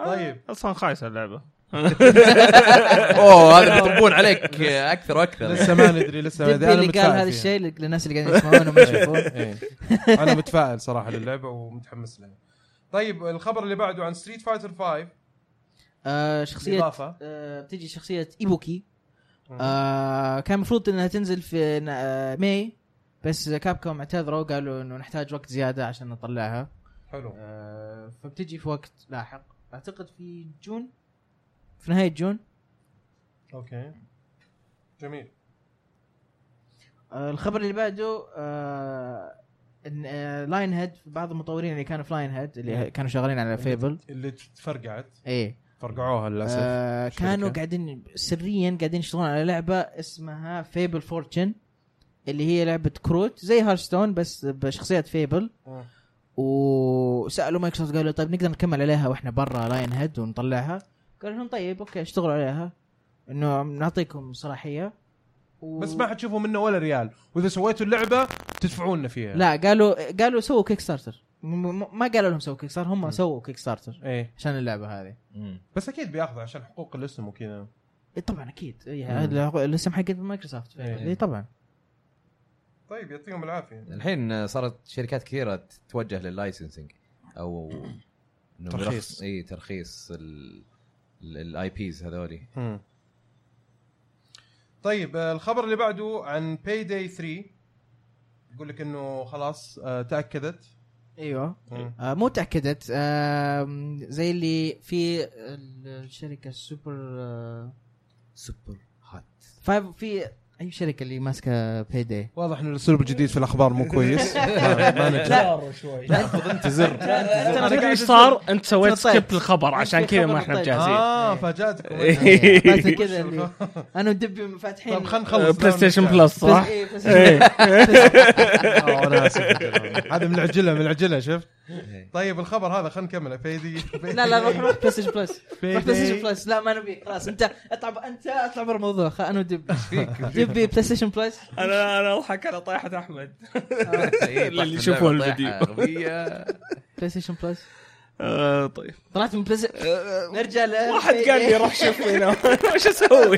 طيب.
آه، اصلا خايسه اللعبه
اوه هذا بيطبون عليك اكثر واكثر
لسه ما ندري لسه ما
دبي
ندري
اللي قال
متفائل
هذا
فيها.
الشيء لل- للناس اللي قاعدين يسمعون وما يشوفون
إيه. انا متفائل صراحه للعبه ومتحمس لها طيب الخبر اللي بعده عن ستريت فايتر 5
آه، شخصيه
اضافه
آه، بتجي شخصيه ايبوكي
مم.
آه كان المفروض انها تنزل في ن- آه ماي بس كابكوم اعتذروا وقالوا انه نحتاج وقت زياده عشان نطلعها
حلو
آه فبتجي في وقت لاحق اعتقد في جون في نهايه جون
اوكي جميل
آه الخبر اللي بعده آه ان آه لاين هيد بعض المطورين اللي كانوا في لاين هيد اللي كانوا شغالين على فيبل
اللي تفرقعت
ايه
فرقعوها للاسف آه.
آه
الشركة.
كانوا قاعدين سريا قاعدين يشتغلون على لعبه اسمها فيبل فورتشن اللي هي لعبه كروت زي هارستون بس بشخصيات فيبل
آه.
وسالوا مايكروسوفت قالوا طيب نقدر نكمل عليها واحنا برا لاين هيد ونطلعها قالوا لهم طيب اوكي اشتغلوا عليها انه نعطيكم صلاحيه و...
بس ما حتشوفوا منه ولا ريال واذا سويتوا اللعبه تدفعوا لنا فيها
لا قالوا قالوا سووا كيك ستارتر م- م- ما قالوا لهم سووا كيك ستارتر هم
م.
سووا كيك ستارتر
ايه
عشان اللعبه هذه
بس اكيد بياخذ عشان حقوق الاسم وكذا
إيه طبعا اكيد إيه،
م.
هذا الاسم حق مايكروسوفت
إيه.
إيه طبعا
طيب يعطيهم العافيه
الحين صارت شركات كثيره تتوجه لللايسنسنج او إنه
ترخيص.
بيرخص- اي ترخيص الاي بيز هذولي
مم. طيب آه، الخبر اللي بعده عن باي داي 3 يقول لك انه خلاص آه، تاكدت
ايوه
مم.
آه مو تاكدت آه زي اللي في الشركه السوبر آه
سوبر هات
فايف في اي شركه اللي ماسكه باي داي
واضح ان الاسلوب الجديد في الاخبار مو كويس ما- ما نجح.
لا شوي
تاخذ انت زر
أنا تدري ايش صار؟ انت سويت
طيب.
سكيب الخبر عشان كذا ما احنا
طيب.
مجهزين
اه فاجاتك
كذا اللي انا ودبي فاتحين
طيب خلينا نخلص
بلاي ستيشن بلس
بس-
آه، صح؟
إيه، بس-
إيه.
آه، أنا آسف. هذا من العجله من العجله شفت طيب الخبر هذا خلينا نكمله فيدي
لا لا روح روح بلاي ستيشن بلس روح بلاي ستيشن
فيدي
بلس لا ما نبي خلاص انت اطلع ب- انت اطلع برا الموضوع خ- انا ودبي دبي بلاي ستيشن بلس
انا انا اضحك على طيحه احمد
اللي
يشوفون الفيديو.
بلاي ستيشن بلس
آه، طيب
طلعت من بلاي ستيشن نرجع ل
واحد قال لي روح شوف هنا وش اسوي؟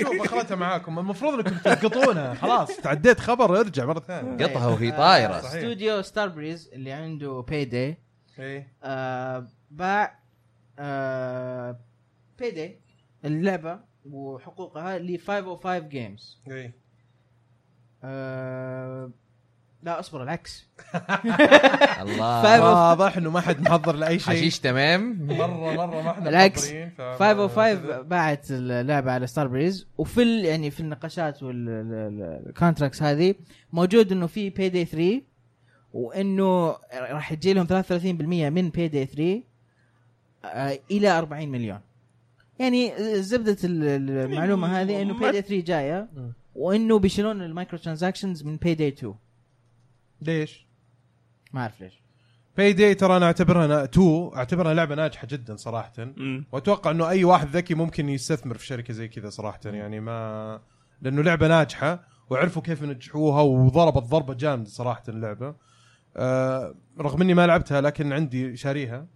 شوف اخرتها معاكم المفروض انكم تلقطونها خلاص تعديت خبر ارجع مره ثانيه
قطها وهي طايره
صح.
استوديو ستار بريز اللي عنده باي داي
إيه.
آه، باع آه، باي داي اللعبه وحقوقها ل 505 جيمز
إيه.
آه، لا اصبر العكس
الله oh
فاهم؟
واضح انه ما حد محضر لاي شيء
حشيش تمام
مره مره ما احنا
بالعكس.
محضرين، ف-
505 باعت اللعبه على ستار بريز وفي ال- يعني في النقاشات والكونتراكتس هذه موجود انه في باي داي 3 وانه راح يجي لهم 33% من باي داي 3 آه، الى 40 مليون يعني زبده ال- ال- المعلومه هذه انه باي داي 3 جايه
مم.
وانه بيشيلون المايكرو ترانزاكشنز من باي داي 2
ليش؟
ما اعرف ليش
باي داي ترى انا اعتبرها نا... تو اعتبرها لعبه ناجحه جدا صراحه واتوقع انه اي واحد ذكي ممكن يستثمر في شركه زي كذا صراحه يعني ما لانه لعبه ناجحه وعرفوا كيف ينجحوها وضربت ضربه جامده صراحه اللعبه آه رغم اني ما لعبتها لكن عندي شاريها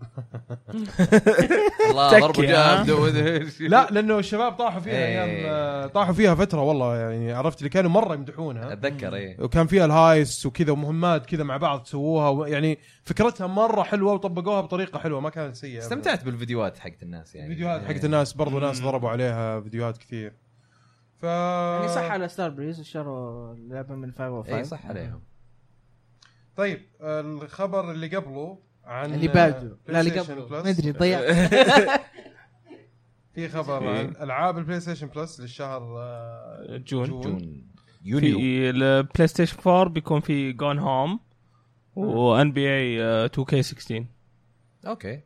الله ضربه
تكي، ها؟
جامده وذا-
لا لانه الشباب طاحوا فيها
إيه.
ايام آه، طاحوا فيها فتره والله يعني عرفت اللي كانوا مره يمدحونها
اتذكر ايه
وكان فيها الهايس وكذا ومهمات كذا مع بعض سووها و- يعني فكرتها مره حلوه وطبقوها بطريقه حلوه ما كانت سيئه
استمتعت بالفيديوهات حقت الناس يعني
فيديوهات حقت الناس برضو ناس ضربوا عليها فيديوهات كثير ف
يعني
آه.
صح على ستار بريز شروا اللعبه من 505
اي إيه، صح عليهم
طيب الخبر اللي قبله عن
اللي بعده
آه،
لا اللي
PlayStation
قبله
Plus.
ما ادري ضيعت
في خبر عن العاب البلاي ستيشن بلس للشهر آه،
جون
جون يونيو
في البلاي ستيشن 4 بيكون في جون هوم وان بي اي 2 كي 16
اوكي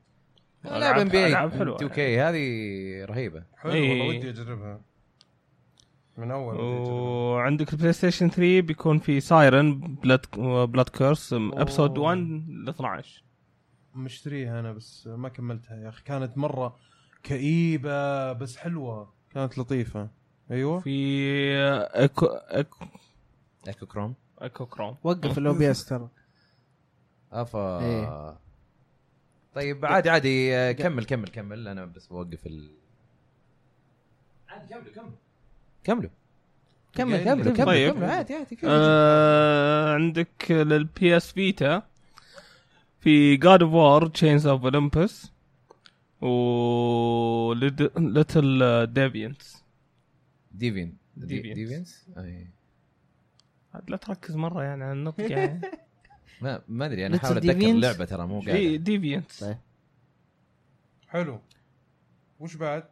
ألعاب-
العاب ام بي
ألعاب حلوة.
2 كي هذه رهيبه
حلو
إيه.
والله ودي اجربها من اول ودي أجربها.
وعندك البلاي ستيشن 3 بيكون في آه، سايرن بلاد بلاد كيرس ابسود 1 ل 12
مشتريها انا بس ما كملتها يا اخي كانت مره كئيبه بس حلوه كانت لطيفه ايوه
في آه، اكو اكو
اكو كروم
اكو كروم
وقف الاو بي اس ترى
افا
إيه.
آه، طيب عادي عادي آه، كمل كمل كمل انا بس بوقف ال عادي كملوا كملوا كملوا
كمل
كملوا
كمل كمل
طيب.
كملوا كملوا عادي عادي كملوا
آه عندك للبي اس فيتا في جاد اوف وار تشينز اوف اولمبس و آه، ليتل ديفينتس
ديفين
Deviants.
ديفينس
لا تركز مره يعني على النطق يعني
ما ما ادري انا
Little
احاول اتذكر
Deviants.
اللعبه ترى مو
إيه،
قاعد
ديفينتس
طيب.
حلو وش بعد؟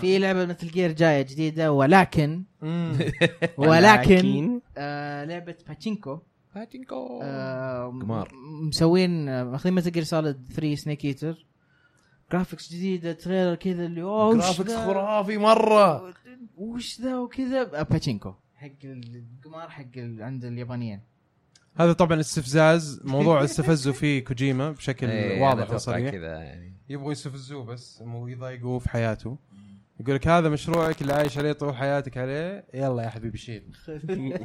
في لعبه مثل جير جايه جديده ولكن
مم.
ولكن آه لعبه باتشينكو
باتينكو
آه م-
قمار.
مسوين آه، ماخذين مثل جير سوليد 3 سنيك ايتر جرافيكس جديده تريلر كذا اللي اوه وش
جرافيكس
ذا
خرافي مره
وش ذا وكذا آه، باتشينكو حق القمار حق ال- عند اليابانيين
هذا طبعا استفزاز موضوع استفزوا فيه كوجيما بشكل
إيه، أنا
واضح
أتوقع
وصريح
كذا يعني
يبغوا يستفزوه بس مو يضايقوه في حياته يقول لك هذا مشروعك اللي عايش عليه طول حياتك عليه يلا يا حبيبي شيل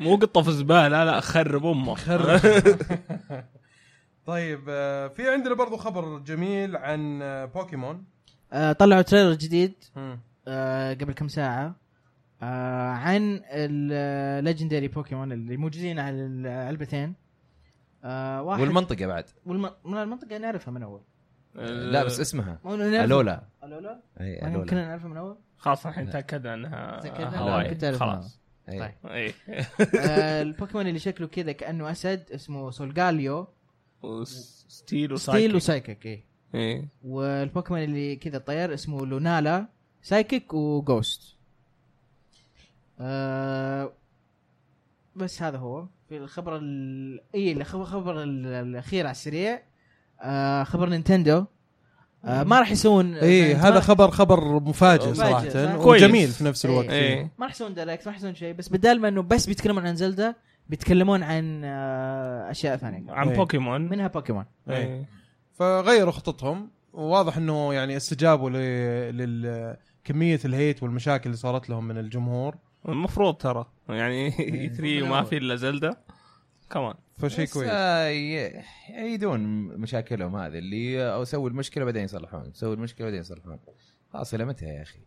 مو قطه في زباله لا خرب امه
خرب طيب آه، في عندنا برضو خبر جميل عن آه، بوكيمون
آه طلعوا تريلر جديد آه، قبل كم ساعة آه، عن الليجندري بوكيمون اللي موجودين على العلبتين آه، واحد
والمنطقه بعد
والم... من المنطقة نعرفها من أول
آه،
لا بس اسمها
مو إنه نعرف-
الولا
ألولا
اي
يعني يمكن
الولا
نعرفها من أول
خلاص الحين تاكدنا انها
تأكدنا؟
لا،
هواي
كنت أعرف
خلاص
إيه.
طيب.
اي
آه، البوكيمون اللي شكله كذا كانه اسد اسمه سولغاليو
ستيل
ستيل
وسايكل
وسايكيك اي
اي
والبوكيمون اللي كذا طير اسمه لونالا سايكيك وجوست آه بس هذا هو في الخبر ال... اي الخبر خبر ال- الاخير على السريع آه خبر نينتندو آه ما راح يسوون
اي إيه، هذا خبر خبر مفاجئ
مفاجئ،
صراحه
صح؟
كويس.
وجميل في نفس الوقت
إيه.
إيه.
ما راح يسوون دايركت ما راح يسوون شيء بس بدال ما انه بس بيتكلمون عن زلدة بيتكلمون عن آه اشياء ثانيه
عن
إيه.
بوكيمون
منها بوكيمون
إيه.
إيه.
فغيروا خططهم وواضح انه يعني استجابوا ل... لل كميه الهيت والمشاكل اللي صارت لهم من الجمهور
المفروض ترى يعني اي 3 وما
بالأول.
في الا زلدا كمان
فشيء
بس،
كويس
آه، ي- يعيدون مشاكلهم هذه اللي او سووا المشكله بعدين يصلحون سووا المشكله بعدين يصلحون خلاص إلى متى يا اخي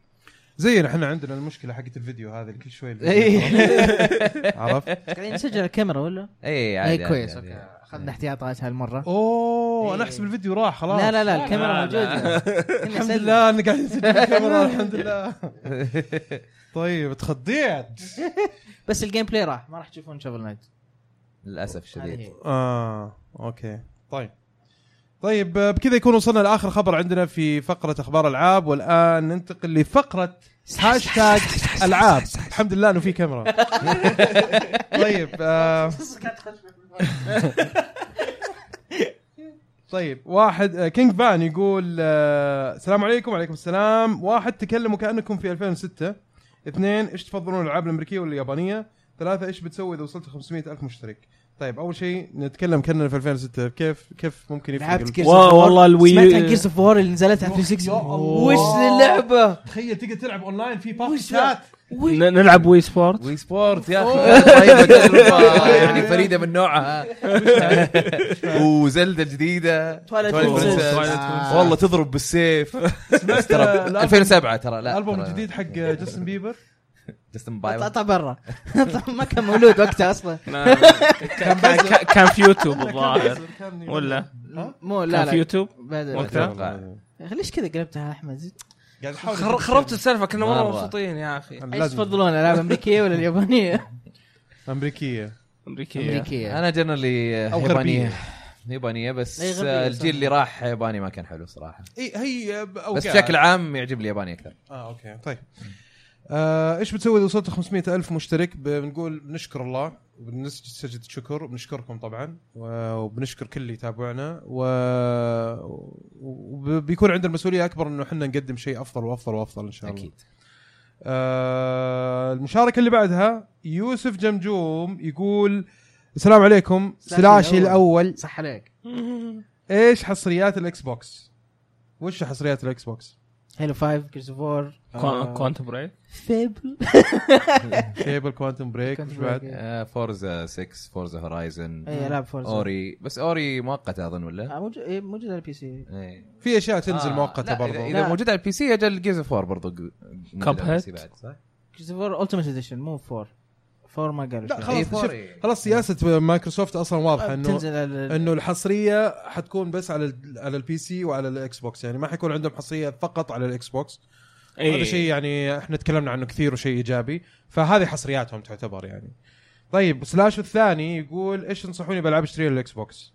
زينا احنا عندنا المشكله حقت الفيديو هذا اللي كل شوي الفيديو
اي
عرفت
قاعدين نسجل على الكاميرا ولا؟
اي عادي،
اي إيه، كويس
عادي،
اوكي
عادي.
اخذنا احتياطات هالمره
اوه انا
إيه.
احسب الفيديو راح خلاص
لا لا لا الكاميرا
لا،
موجوده
الحمد لله اني قاعد نسجل الكاميرا الحمد لله طيب تخضيت
بس الجيم بلاي راح ما راح تشوفون شوفل نايت
للاسف شديد
اه اوكي طيب طيب آه، بكذا يكون وصلنا لاخر خبر عندنا في فقره اخبار العاب والان ننتقل لفقره هاشتاج العاب الحمد لله انه في كاميرا طيب آه طيب واحد آه، كينج بان يقول آه، السلام عليكم وعليكم السلام واحد تكلموا كانكم في 2006 اثنين ايش تفضلون الالعاب الامريكيه ولا اليابانيه ثلاثه ايش بتسوي اذا وصلت 500 الف مشترك طيب اول شيء نتكلم كنا في 2006 كيف كيف ممكن يفرق
لعبت
الم-
كيف Gears of
وا-
War.
والله الوي-
سمعت عن جيرس اوف وور اللي نزلت على 360 وش اللعبه؟
تخيل تقدر تلعب اونلاين في بارتي
وش
شات
ذا؟
ن- نلعب وي سبورت
وي سبورت يا اخي رهيبه تجربه يعني فريده من نوعها وزلدة جديده
تواليت
Twilight Princess.
آه.
والله تضرب بالسيف بس ترى
آه، الألبوم-
2007 ترى لا
الالبوم
ترى-
الجديد طيب، حق جاستن بيبر
جاستن بايبر
اطلع برا ما كان مولود وقتها اصلا
كان كان في يوتيوب الظاهر
كان-
ولا
ها؟
مو لا
كان في
لا
يوتيوب
بعد-
وقتها؟
ليش كذا قلبتها يا احمد؟
قاعد أحاول
خر- خربت السالفه كنا مره
مرة.
مبسوطين يا اخي
ايش
لازم.
تفضلون الالعاب امريكيه ولا اليابانيه؟
امريكيه
امريكيه
امريكيه
انا جنرالي
طيب. أو إيه،
يابانيه يابانيه بس
إي غربية،
آه،
صح.
الجيل اللي راح ياباني ما كان حلو صراحه
اي هي أوقع.
بس بشكل عام يعجب الياباني اكثر
اه اوكي طيب آه، ايش بتسوي اذا وصلت 500 الف مشترك ب- بنقول بنشكر الله وبنسجد شكر وبنشكركم طبعا و- وبنشكر كل اللي يتابعنا و... وبيكون عندنا المسؤوليه اكبر انه احنا نقدم شيء افضل وافضل وافضل ان شاء الله
اكيد
آه، المشاركه اللي بعدها يوسف جمجوم يقول السلام عليكم سلاشي الاول
صح عليك
ايش حصريات الاكس بوكس وش حصريات الاكس بوكس
هيلو 5 جيرس اوف وور
كوانت بريك
فيبل
كيبل كوانتم بريك وش
Quantum
بعد
Break.
آه، فورزا 6 فورزا هورايزن
اي
إيه،
العاب فورزا
اوري بس اوري مؤقته اظن ولا؟
آه، موجود إيه، موجود على البي سي
إيه.
في اشياء تنزل
آه،
مؤقته
لا، إذا-
برضو
نعم.
اذا موجوده على البي سي اجل جيز اوف وور برضه
Cuphead.
صح؟
جيرس اوف وور التيمت اديشن مو 4 4 ما قالوا
لا،
شيء. آه،
خلاص،
إيه،
شوف،
Four، إيه.
خلاص سياسه مايكروسوفت اصلا واضحه انه
بتنزل على
انه الحصريه حتكون بس على ال على البي سي وعلى الاكس بوكس يعني ما حيكون عندهم حصريه فقط على الاكس بوكس
إيه.
هذا شيء يعني احنا تكلمنا عنه كثير وشيء ايجابي فهذه حصرياتهم تعتبر يعني طيب سلاش الثاني يقول ايش تنصحوني بالعاب اشتريها للاكس بوكس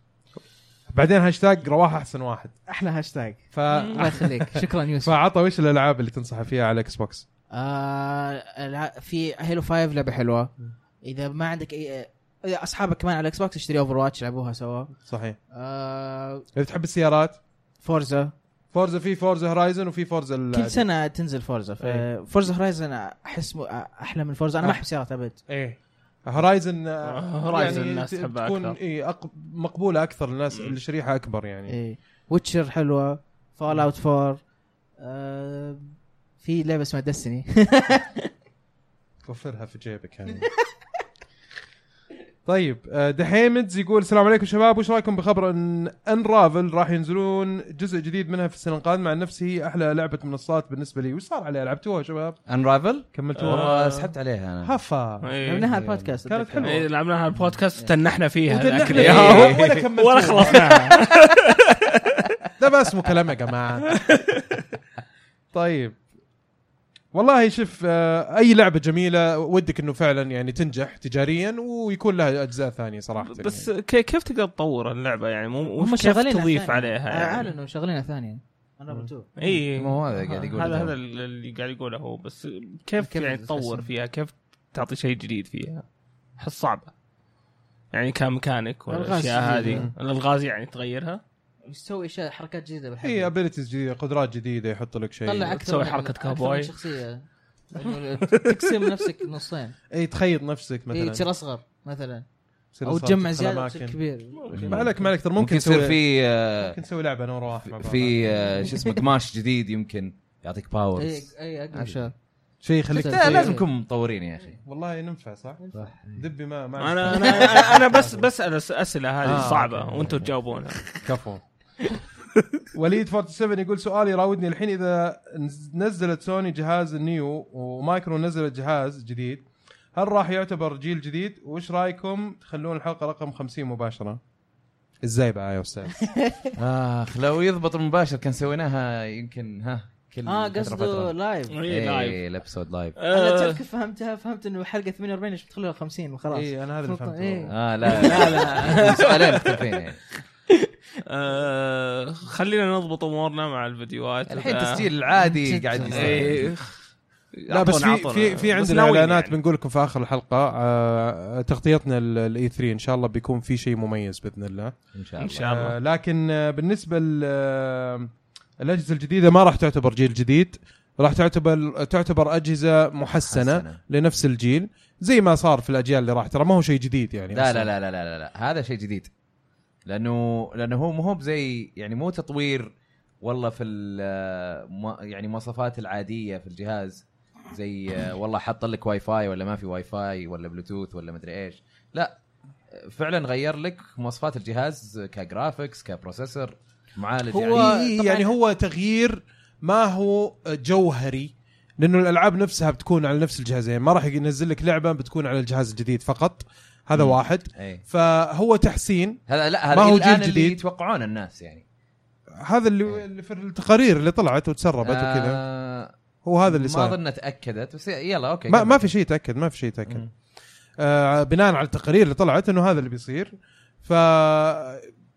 بعدين هاشتاج رواح احسن واحد
احلى هاشتاج
ف...
آه، الله يخليك شكرا يوسف
فعطى وش الالعاب اللي تنصح فيها على الاكس بوكس
آه الع- في هيلو 5 لعبه حلوه اذا ما عندك اي إذا اصحابك كمان على الاكس بوكس اشتري اوفر واتش لعبوها سوا
صحيح
آه
اذا تحب السيارات
فورزا
فورزا في فورزا هورايزن وفي فورزا ال-
كل سنه تنزل آه، فورزا ف-
إيه.
فورزا هورايزن احس مو- احلى من فورزا انا ما احب سيارات ابد
ايه هورايزن يعني
هورايزن الناس تحبها
تكون
أكثر.
إيه أق... مقبوله اكثر للناس اللي شريحه اكبر يعني
إيه. ويتشر حلوه فول اوت 4 آه في لعبه اسمها دستني
وفرها في جيبك يعني طيب آه، دحيمدز يقول السلام عليكم شباب وش رايكم بخبر ان انرافل راح ينزلون جزء جديد منها في السنه القادمه عن نفسي هي احلى لعبه منصات بالنسبه لي وش صار عليها لعبتوها يا شباب
انرايفل
كملتوها
آه.
والله آه، سحبت عليها انا
آه. يعني
هفا
لعبناها على البودكاست
كانت
أتذكر.
حلوة.
إيه، لعبناها البودكاست وتنحنا فيها
وتنحنا
الأكل.
فيها.
إيه.
ولا كملتوها.
ولا خلصناها
ده بس مكالمه يا جماعه طيب والله شوف آه، اي لعبه جميله ودك انه فعلا يعني تنجح تجاريا ويكون لها اجزاء ثانيه صراحه
بس كي- كيف تقدر تطور اللعبه يعني مو
هم
وش كيف
شغالين آه، على
تضيف
الثانية.
عليها يعني
اعلنوا شغالين على ثانيه انا
اي
مو هذا قاعد يقوله
هذا
تو.
هذا اللي قاعد يقوله هو بس كيف,
كيف
يعني
تحسن؟
تطور فيها كيف تعطي شيء جديد فيها احس صعبه يعني كميكانيك
الألغاز
والاشياء
جديدة.
هذه الالغاز يعني تغيرها
يسوي اشياء حركات جديده
هي
بالحلقه
ابيلتيز جديده إيه، قدرات جديده يحط لك شيء
طلع اكثر
تسوي
من-
حركة
أكثر من
كاوبوي.
شخصيه إنه تقسم نفسك نصين
اي تخيط نفسك
إيه،
مثلا
تصير اصغر مثلا
تصير
او
أصغر،
تجمع
تدخل
زياده
أماكن.
تصير كبير
ما عليك ما عليك ترى
ممكن
ممكن
يصير
تسوي
في آه،
ممكن تسوي لعبه انا وراح مع بعض.
في آه، شو اسمه قماش جديد يمكن يعطيك
اي
باورز
اي اقرب
عادي.
شيء
شيء يخليك
إيه. لا، إيه.
لا
تسوي-
لازم نكون مطورين يا اخي
والله ننفع صح؟
صح
دبي ما ما
انا انا أنا- انا بس بسال أس- اسئله هذه
آه،
صعبه
أوكي.
وانتم تجاوبونها
كفو وليد 47 يقول سؤال يراودني الحين اذا نزلت سوني جهاز النيو ومايكرو نزلت جهاز جديد هل راح يعتبر جيل جديد وايش رايكم تخلون الحلقه رقم 50 مباشره ازاي بقى يا استاذ
اخ لو يضبط مباشر كان سويناها يمكن ها كل
اه
فترة
قصده
فترة.
لايف
إيه،
اي الابسود لايف
انا
آه،
تذكر فهمتها فهمت انه حلقه 48 ايش بتخليها 50 وخلاص
اي انا هذا اللي
خلاص،
فهمته
إيه.
والله.
اه لا لا لا سؤالين مختلفين يعني
آه، خلينا نضبط امورنا مع الفيديوهات
الحين
آه،
تسجيل العادي
جد.
قاعد يصير
إيه.
لا بس
عطونا-
في
عطونا.
في في
بس
عندنا
ناويين
اعلانات
يعني.
بنقول لكم في اخر الحلقه آه، تغطيتنا الاي 3 ان شاء الله بيكون في شيء مميز باذن الله
ان شاء
ان
الله
شاء الله
آه، لكن آه، بالنسبه للاجهزه الجديده ما راح تعتبر جيل جديد راح تعتبر تعتبر اجهزه محسنه
حسنة.
لنفس الجيل زي ما صار في الاجيال اللي راح ترى ما هو شيء جديد يعني
لا
أصلاً.
لا لا لا لا, لا, لا. هذا شيء جديد لانه لانه هو مو هو بزي يعني مو تطوير والله في ال- مو- يعني مواصفات العاديه في الجهاز زي آه، والله حط لك واي فاي ولا ما في واي فاي ولا بلوتوث ولا مدري ايش لا فعلا غير لك مواصفات الجهاز كجرافيكس كبروسيسور معالج
هو
يعني
يعني, يعني هو تغيير ما هو جوهري لانه الالعاب نفسها بتكون على نفس الجهازين ما راح ينزل لك لعبه بتكون على الجهاز الجديد فقط هذا
مم.
واحد
إيه.
فهو تحسين
هذا لا هذا
ما هو
الآن
جيل
اللي
جديد.
يتوقعون الناس يعني
هذا اللي اللي في التقارير اللي طلعت وتسربت وكذا
إيه. آه
هو هذا اللي
ما
صار
اظن تاكدت بس يلا اوكي
ما
كمل.
ما في شيء يتاكد ما في شيء يتاكد
مم.
آه بناء على التقارير اللي طلعت انه هذا اللي بيصير ف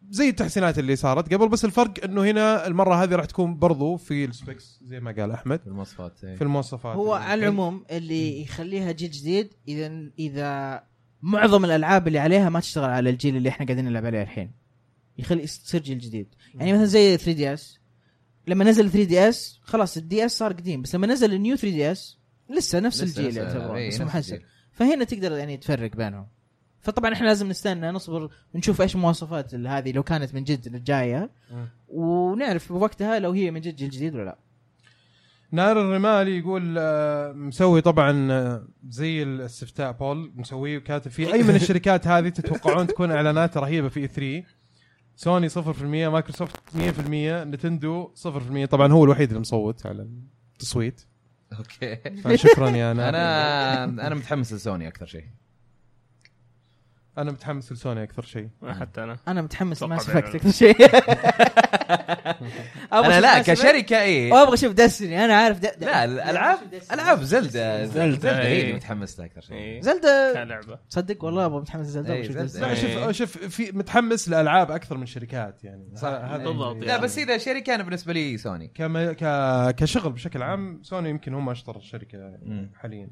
زي التحسينات اللي صارت قبل بس الفرق انه هنا المره هذه راح تكون برضو في السبيكس زي ما قال احمد
في المواصفات إيه.
في المواصفات
هو
يعني.
على العموم اللي يخليها جيل جديد اذا اذا معظم الالعاب اللي عليها ما تشتغل على الجيل اللي احنا قاعدين نلعب عليه الحين يخلي تصير جيل جديد يعني مثلا زي 3 دي اس لما نزل 3 دي اس خلاص الدي اس صار قديم بس لما نزل النيو 3 دي اس لسه
لسه-
نفس الجيل
لسه-
يعتبر
إيه،
بس
نفس
محسن
الجيل.
فهنا تقدر يعني تفرق بينهم فطبعا احنا لازم نستنى نصبر نشوف ايش مواصفات ال- هذه لو كانت من جد جايه
مم.
ونعرف بوقتها لو هي من جد جيل جديد ولا لا
نار الرمالي يقول آه، مسوي طبعا آه، زي الاستفتاء بول مسويه وكاتب فيه اي من الشركات هذه تتوقعون تكون اعلانات رهيبه في E 3 سوني 0% مايكروسوفت 100% نتندو 0% طبعا هو الوحيد اللي مصوت على التصويت
اوكي
فشكرا يا نار
انا انا متحمس لسوني اكثر شيء
انا متحمس لسوني اكثر شيء
حتى انا
انا متحمس
أتوقع
ماس
بيعمل.
افكت اكثر شيء أبغى
انا لا
أشوف
إيه.
Mass Effect
كشركه اي
وابغى اشوف دستني انا عارف د...
لا الالعاب العاب زلدة
زلدة،
زلدة هي
إيه.
اللي متحمس لها اكثر شيء
إيه.
زلدة
كلعبه
تصدق والله ابغى متحمس زلدة
إيه،
أبغى أشوف
زلدة.
زلدة.
لا شوف شوف في متحمس لالعاب اكثر من شركات يعني
صح.
هذا
بالضبط.
اللي-
لا بس اذا شركه انا بالنسبه لي سوني
كما ك... كشغل بشكل عام سوني يمكن هم اشطر شركه
مم.
حاليا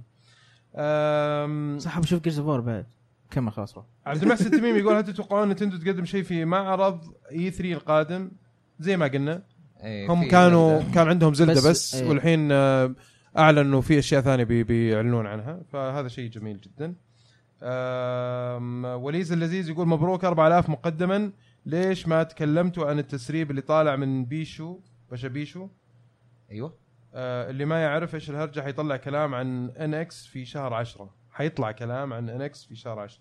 أم...
صح بشوف جيرز اوف باد كمل خلاص روح
عبد المحسن التميمي يقول هل تتوقعون نتندو تقدم شيء في معرض اي 3 القادم زي ما قلنا
إيه،
هم
في
كانوا
زلدة.
كان عندهم زلده بس,
بس-
بس
إيه.
والحين آه، اعلنوا في اشياء ثانيه بي بيعلنون عنها فهذا شيء جميل جدا آم، وليز اللذيذ يقول مبروك 4000 مقدما ليش ما تكلمتوا عن التسريب اللي طالع من بيشو باشا بيشو
ايوه
آه، اللي ما يعرف ايش الهرجه حيطلع كلام عن ان اكس في شهر 10 حيطلع كلام عن ان اكس في شهر 10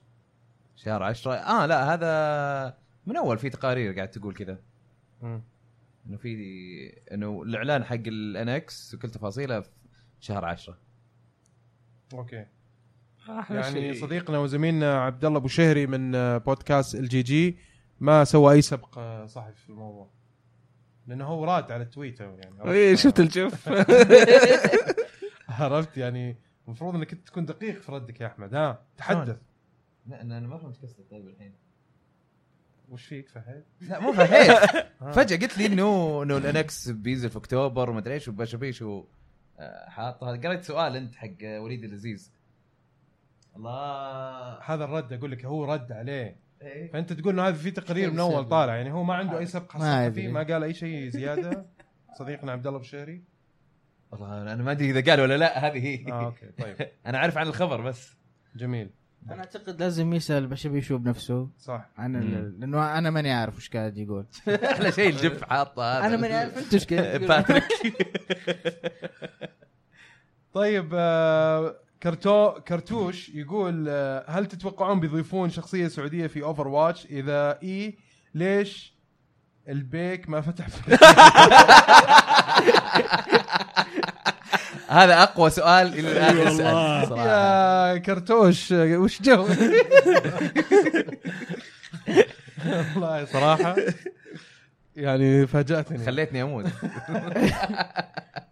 شهر 10 اه لا هذا من اول في تقارير قاعد تقول كذا انه في انه الاعلان حق الانكس وكل تفاصيله في شهر 10
اوكي
أحلى
يعني
شيء.
صديقنا وزميلنا عبد الله ابو شهري من آه، بودكاست الجي جي ما سوى اي سبق آه، صحفي في الموضوع
إيه،
لانه هو راد على التويتر يعني
اي شفت الجف
عرفت يعني المفروض انك انت تكون دقيق في ردك يا احمد ها تحدث
لا انا أنا ما فهمت قصدك طيب الحين
وش فيك فهد؟
لا مو فهيت
ها.
فجاه قلت لي انه انه الانكس بينزل في اكتوبر وما ادري ايش وبشبيش و آه، حاطه هذا قريت سؤال انت حق آه، وليد العزيز الله
هذا الرد اقول لك هو رد عليه
إيه.
فانت تقول انه هذا في تقرير من اول طالع يعني هو ما عنده اي سبق
ما
ثقافي
أدري.
ما قال اي شيء زياده صديقنا عبد الله بشهري
والله انا ما ادري اذا قال ولا لا هذه هي
اه اوكي طيب
انا عارف عن الخبر بس
جميل
انا اعتقد لازم يسال بشبي شو بنفسه
صح
عن
مم.
ال- لانه انا ماني عارف وش قاعد يقول
احلى شيء الجف حاطه هذا
انا ماني عارف انت ايش قاعد تقول.
باتريك
طيب آه، كرتو كرتوش يقول آه، هل تتوقعون بيضيفون شخصيه سعوديه في اوفر واتش اذا اي ليش البيك ما فتح
هذا اقوى سؤال الى الان
أي
يسال
والله.
صراحه
يا كرتوش آه، وش جو والله صراحه يعني فاجاتني
خليتني اموت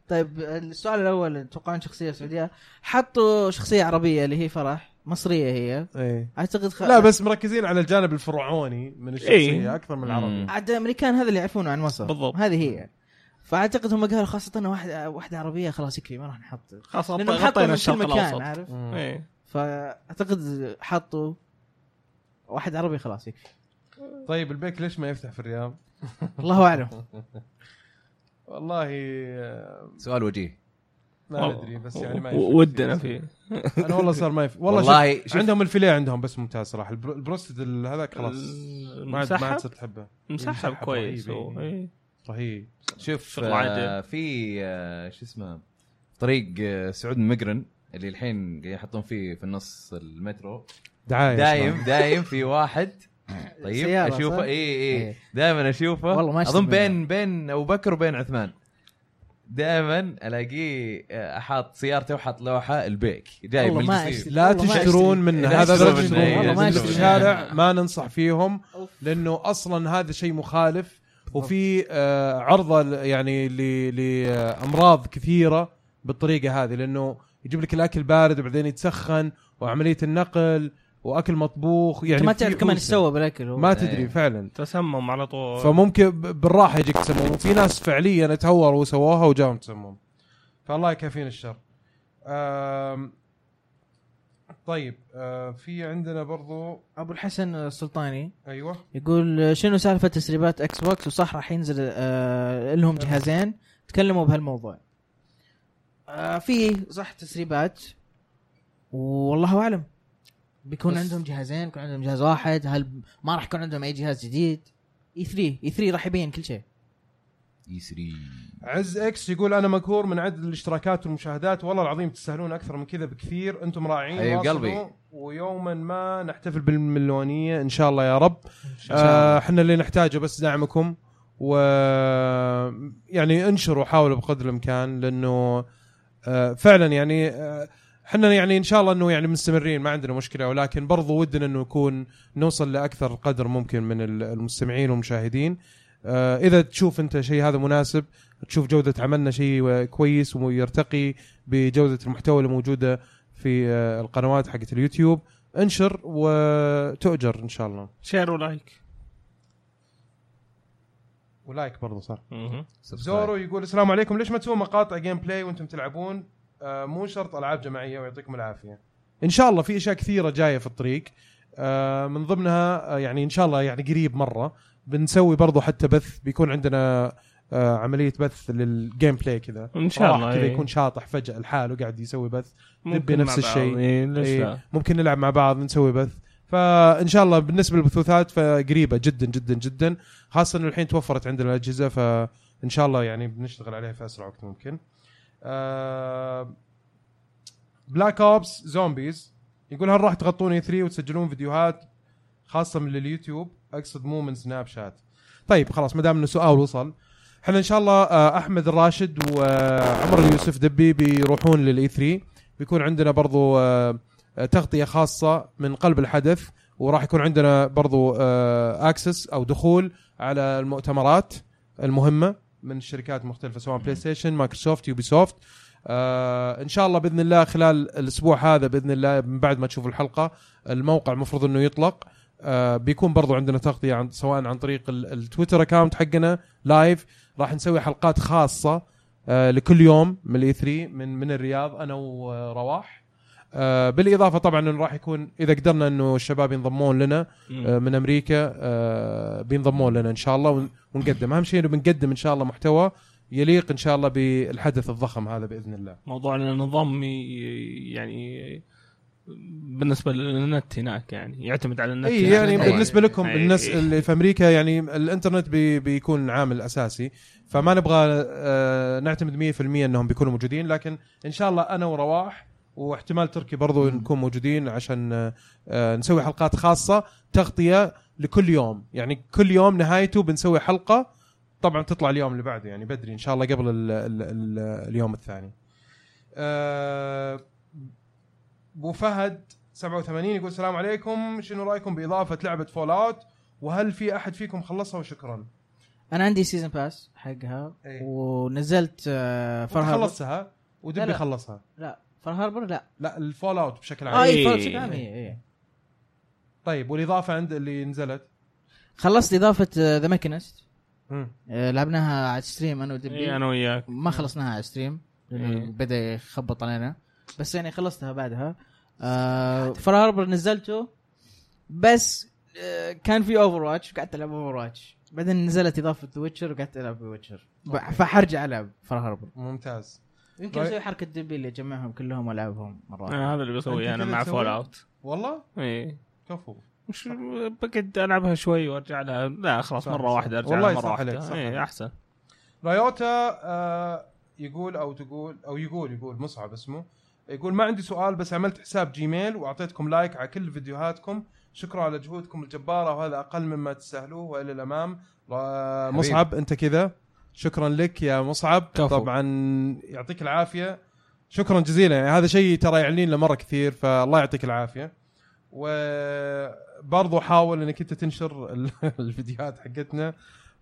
طيب السؤال الاول تتوقعون شخصيه سعوديه حطوا شخصيه عربيه اللي هي فرح مصريه هي
إيه.
اعتقد خ...
لا بس مركزين على الجانب الفرعوني من الشخصيه
إيه.
اكثر من العربي
مم.
عاد الامريكان هذا اللي يعرفونه عن مصر
بالضبط.
هذه هي فاعتقد هم قالوا خاصه انه واحده واحده عربيه خلاص يكفي ما راح نحط
خلاص
لانه
غطينا
حطوا من كل
الشرق
مكان
الاوسط
عارف
مم.
إيه.
فاعتقد حطوا واحد عربي خلاص يكفي
طيب البيك ليش ما يفتح في الرياض؟
الله اعلم
والله آه،
سؤال وجيه
ما ادري بس يعني ما يفرق
و- ودنا
كثير.
فيه
انا والله صار ما يفرق والله,
والله
شوف
شوف-
عندهم الفيليه عندهم بس ممتاز صراحه البر- البروستد ال- هذاك خلاص ما عاد ما عاد
المسحب
صرت احبه
مسحب
مسحب
كويس
رهيب،
هو.
إيه.
إيه.
رهيب
شوف
شغل
آه
عادل.
في آه شو اسمه طريق آه سعود المقرن اللي الحين يحطون فيه في النص المترو
دعايه
دايم دايم في واحد طيب
أيوة، سيارة، صح؟
اشوفه اي اي
إيه.
دائما اشوفه
والله ما أشتم
اظن
منه.
بين بين ابو بكر وبين عثمان دائما الاقيه آه، حاط سيارته وحاط لوحه البيك جاي
والله
من
ما
الجزيرة
أشتري.
لا
والله ما
تشترون
أشتري.
منه
لا
هذا
تشترون
لا
منه،
تشترون
إيه،
منه.
والله ما
اللي في
أشتري.
الشارع ما ننصح فيهم لانه اصلا هذا شيء مخالف وفي آه، عرضه ل- يعني ل- آه، لامراض كثيره بالطريقه هذه لانه يجيب لك الاكل بارد وبعدين يتسخن وعمليه النقل واكل مطبوخ يعني
انت ما
في
تعرف كمان ايش
أوسة.
سوى بالاكل هو.
ما
إيه.
تدري فعلا
تسمم على طول
فممكن ب- بالراحه يجيك تسمم في ناس فعليا تهوروا وسووها وجاهم تسمم فالله يكفينا الشر أم طيب أه، في عندنا برضو
ابو الحسن السلطاني
ايوه
يقول شنو سالفه تسريبات اكس بوكس وصح راح ينزل آه لهم جهازين تكلموا بهالموضوع آه في صح تسريبات والله اعلم بيكون
بس-
عندهم جهازين بيكون عندهم جهاز واحد هل ما راح يكون عندهم اي جهاز جديد E اي 3 اي 3 راح يبين كل شيء
يسري
عز اكس يقول انا مكور من عدد الاشتراكات والمشاهدات والله العظيم تستاهلون اكثر من كذا بكثير انتم راعين
حبيب
واصلوا،
قلبي.
ويوما ما نحتفل بالمليونيه ان شاء الله يا رب
شاء الله.
آه، احنا اللي نحتاجه بس دعمكم و يعني انشروا حاولوا بقدر الامكان لانه آه، فعلا يعني آه، احنا يعني ان شاء الله انه يعني مستمرين ما عندنا مشكله ولكن برضو ودنا انه يكون نوصل لاكثر قدر ممكن من ال- المستمعين والمشاهدين آه، اذا تشوف انت شيء هذا مناسب تشوف جوده عملنا شيء كويس ويرتقي بجوده المحتوى اللي موجوده في آه، القنوات حقت اليوتيوب انشر وتؤجر ان شاء الله
شير ولايك
ولايك برضو صار زورو
زورو
يقول السلام عليكم ليش ما تسوون مقاطع جيم بلاي وانتم تلعبون آه مو شرط العاب جماعيه ويعطيكم العافيه ان شاء الله في اشياء كثيره جايه في الطريق آه من ضمنها آه يعني ان شاء الله يعني قريب مره بنسوي برضو حتى بث بيكون عندنا آه عمليه بث للجيم بلاي كذا
ان شاء
راح
الله
كذا
إيه.
يكون شاطح فجاه لحاله قاعد يسوي بث
ممكن
دبي
مع
نفس
بعض.
الشيء.
إيه، ليش لا؟
إيه ممكن نلعب مع بعض نسوي بث فان شاء الله بالنسبه للبثوثات فقريبه جدا جدا جدا خاصه انه الحين توفرت عندنا الاجهزه فان شاء الله يعني بنشتغل عليها في اسرع وقت ممكن. آه، بلاك اوبس زومبيز يقول هل راح تغطون اي 3 وتسجلون فيديوهات خاصه من اليوتيوب اقصد مو من سناب شات. طيب خلاص ما دام انه سؤال وصل احنا ان شاء الله آه، احمد الراشد وعمر اليوسف دبي بيروحون E للاي 3 بيكون عندنا برضو آه، تغطيه خاصه من قلب الحدث وراح يكون عندنا برضو اكسس او دخول على المؤتمرات المهمه من الشركات المختلفه سواء بلاي ستيشن مايكروسوفت يوبي سوفت آه ان شاء الله باذن الله خلال الاسبوع هذا باذن الله من بعد ما تشوفوا الحلقه الموقع المفروض انه يطلق آه بيكون برضو عندنا تغطيه عن سواء عن طريق ال- التويتر اكاونت حقنا لايف راح نسوي حلقات خاصه آه لكل يوم من الاي 3 من من الرياض انا ورواح آه بالاضافه طبعا انه راح يكون اذا قدرنا انه الشباب ينضمون لنا آه، من امريكا آه، بينضمون لنا ان شاء الله ون- ونقدم اهم شيء انه بنقدم ان شاء الله محتوى يليق ان شاء الله بالحدث الضخم هذا باذن الله
موضوع ان النظام ي- يعني بالنسبه للنت هناك يعني يعتمد على النت
اي
هناك.
يعني
أي.
بالنسبه لكم
أي.
الناس اللي في امريكا يعني الانترنت بي بيكون عامل اساسي فما نبغى آه، نعتمد 100% انهم بيكونوا موجودين لكن ان شاء الله انا ورواح واحتمال تركي برضو نكون موجودين عشان آه، آه، نسوي حلقات خاصه تغطيه لكل يوم يعني كل يوم نهايته بنسوي حلقه طبعا تطلع اليوم اللي بعده يعني بدري ان شاء الله قبل ال ال ال اليوم الثاني آه، ابو فهد 87 يقول السلام عليكم شنو رايكم باضافه لعبه فول اوت وهل في احد فيكم خلصها وشكرا
انا عندي سيزون باس حقها
إيه.
ونزلت آه، فار هاربر
خلصها
لا،
ودبي
لا.
خلصها
لا فار هاربر لا
لا الفول اوت بشكل
اه
عام
اي
إيه.
فار بشكل عام إيه، إيه.
طيب والاضافه عند اللي نزلت
خلصت آه، اضافه ذا ماكينست آه، لعبناها على ستريم انا ودبي
إيه، انا وياك
ما خلصناها على ستريم لانه
إيه.
بدا يخبط علينا بس يعني خلصتها بعدها آه فار هاربر نزلته بس آه كان في اوفر واتش وقعدت العب اوفر واتش بعدين نزلت اضافه ذا ويتشر وقعدت العب ذا ويتشر
أوكي.
فحرجع العب فار هاربر
ممتاز
يمكن
طيب.
اسوي حركه دبي اللي اجمعهم كلهم والعبهم مره واحدة.
آه هذا اللي
أنت
بسويه انا
كذا
مع
تسوي؟
فول اوت
والله
اي
كفو
مش بقعد العبها شوي وارجع لها لا خلاص
صح،
مره
صح.
واحده ارجع
والله
لها إيه، مره
صح
واحده
عليك، صح عليك.
اي احسن
رايوتا آه يقول او تقول او يقول يقول مصعب اسمه يقول ما عندي سؤال بس عملت حساب جيميل واعطيتكم لايك على كل فيديوهاتكم شكرا على جهودكم الجباره وهذا اقل مما تستاهلوه والى الامام را- مصعب انت كذا شكرا لك يا مصعب
كفو.
طبعا يعطيك العافيه شكرا جزيلا يعني هذا شيء ترى يعلن له مره كثير فالله يعطيك العافيه وبرضو حاول انك انت تنشر ال- الفيديوهات حقتنا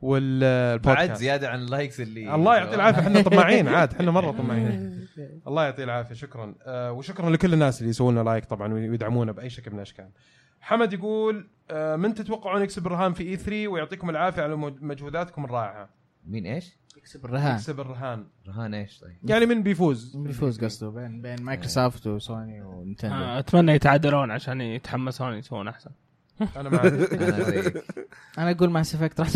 والبودكاست
بعد زياده عن اللايكس اللي
الله يعطي العافيه احنا طماعين عاد احنا مره طماعين الله يعطي العافيه شكرا آه وشكرا لكل الناس اللي يسوون لنا لايك طبعا ويدعمونا باي شكل من الاشكال حمد يقول آه من تتوقعون يكسب الرهان في اي 3 ويعطيكم العافيه على مج- مجهوداتكم الرائعه
مين ايش؟
يكسب الرهان
يكسب الرهان
رهان ايش طيب؟
يعني من بيفوز
يفوز قصده بين بين مايكروسوفت وسوني ونتندو
آه اتمنى يتعادلون عشان يتحمسون يسوون احسن
انا معك
أنا رأيك.
انا اقول ماس افكت راح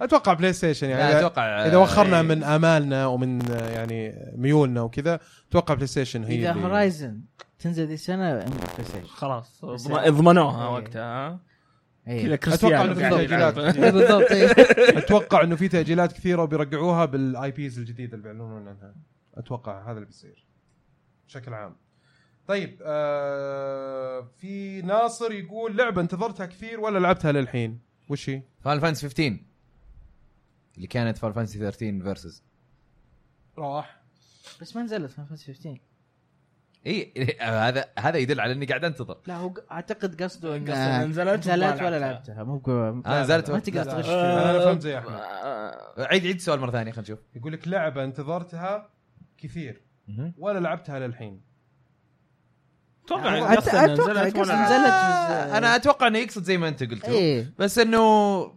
اتوقع بلاي ستيشن يعني
لا
إذا-
اتوقع
اذا وخرنا
إيه.
من امالنا ومن آه، يعني ميولنا وكذا اتوقع بلاي ستيشن هي
اذا
اللي-
هورايزن تنزل ذي السنه بلاي ستيشن.
خلاص
بس-
ضم- ضمنوها
إيه.
وقتها ها؟
إيه.
كذا
اتوقع
كريستيانو
انه في
قاعد يلعب.
تاجيلات
إيه بالضبط إيه.
اتوقع انه في تاجيلات كثيره وبيرجعوها بالاي بيز الجديده اللي بيعلنون عنها اتوقع هذا اللي بيصير بشكل عام طيب آه في ناصر يقول لعبه انتظرتها كثير ولا لعبتها للحين وش هي؟
فان فانسي 15 اللي كانت فان فانسي 13 فيرسز
راح
بس ما نزلت فان فانتسي 15
اي إيه، هذا هذا يدل على اني قاعد انتظر
لا هو ق- اعتقد قصده
قصده إن نزلت وما
نزلت
لعبتها.
ولا لعبتها مو بقو-
انا نزلت
ما
وقت-
تقدر تغش فيه.
انا فهمت زي احمد
آه،
عيد عيد السؤال مره ثانيه خلينا نشوف
يقول لك لعبه انتظرتها كثير ولا لعبتها للحين
اتوقع
أت-
يقصد إنها
أتوقع
نزلت
يقصد
ولا
نزلت.
لا.
بز-
آه، انا اتوقع انه يقصد زي ما انت قلت
ايه
بس انه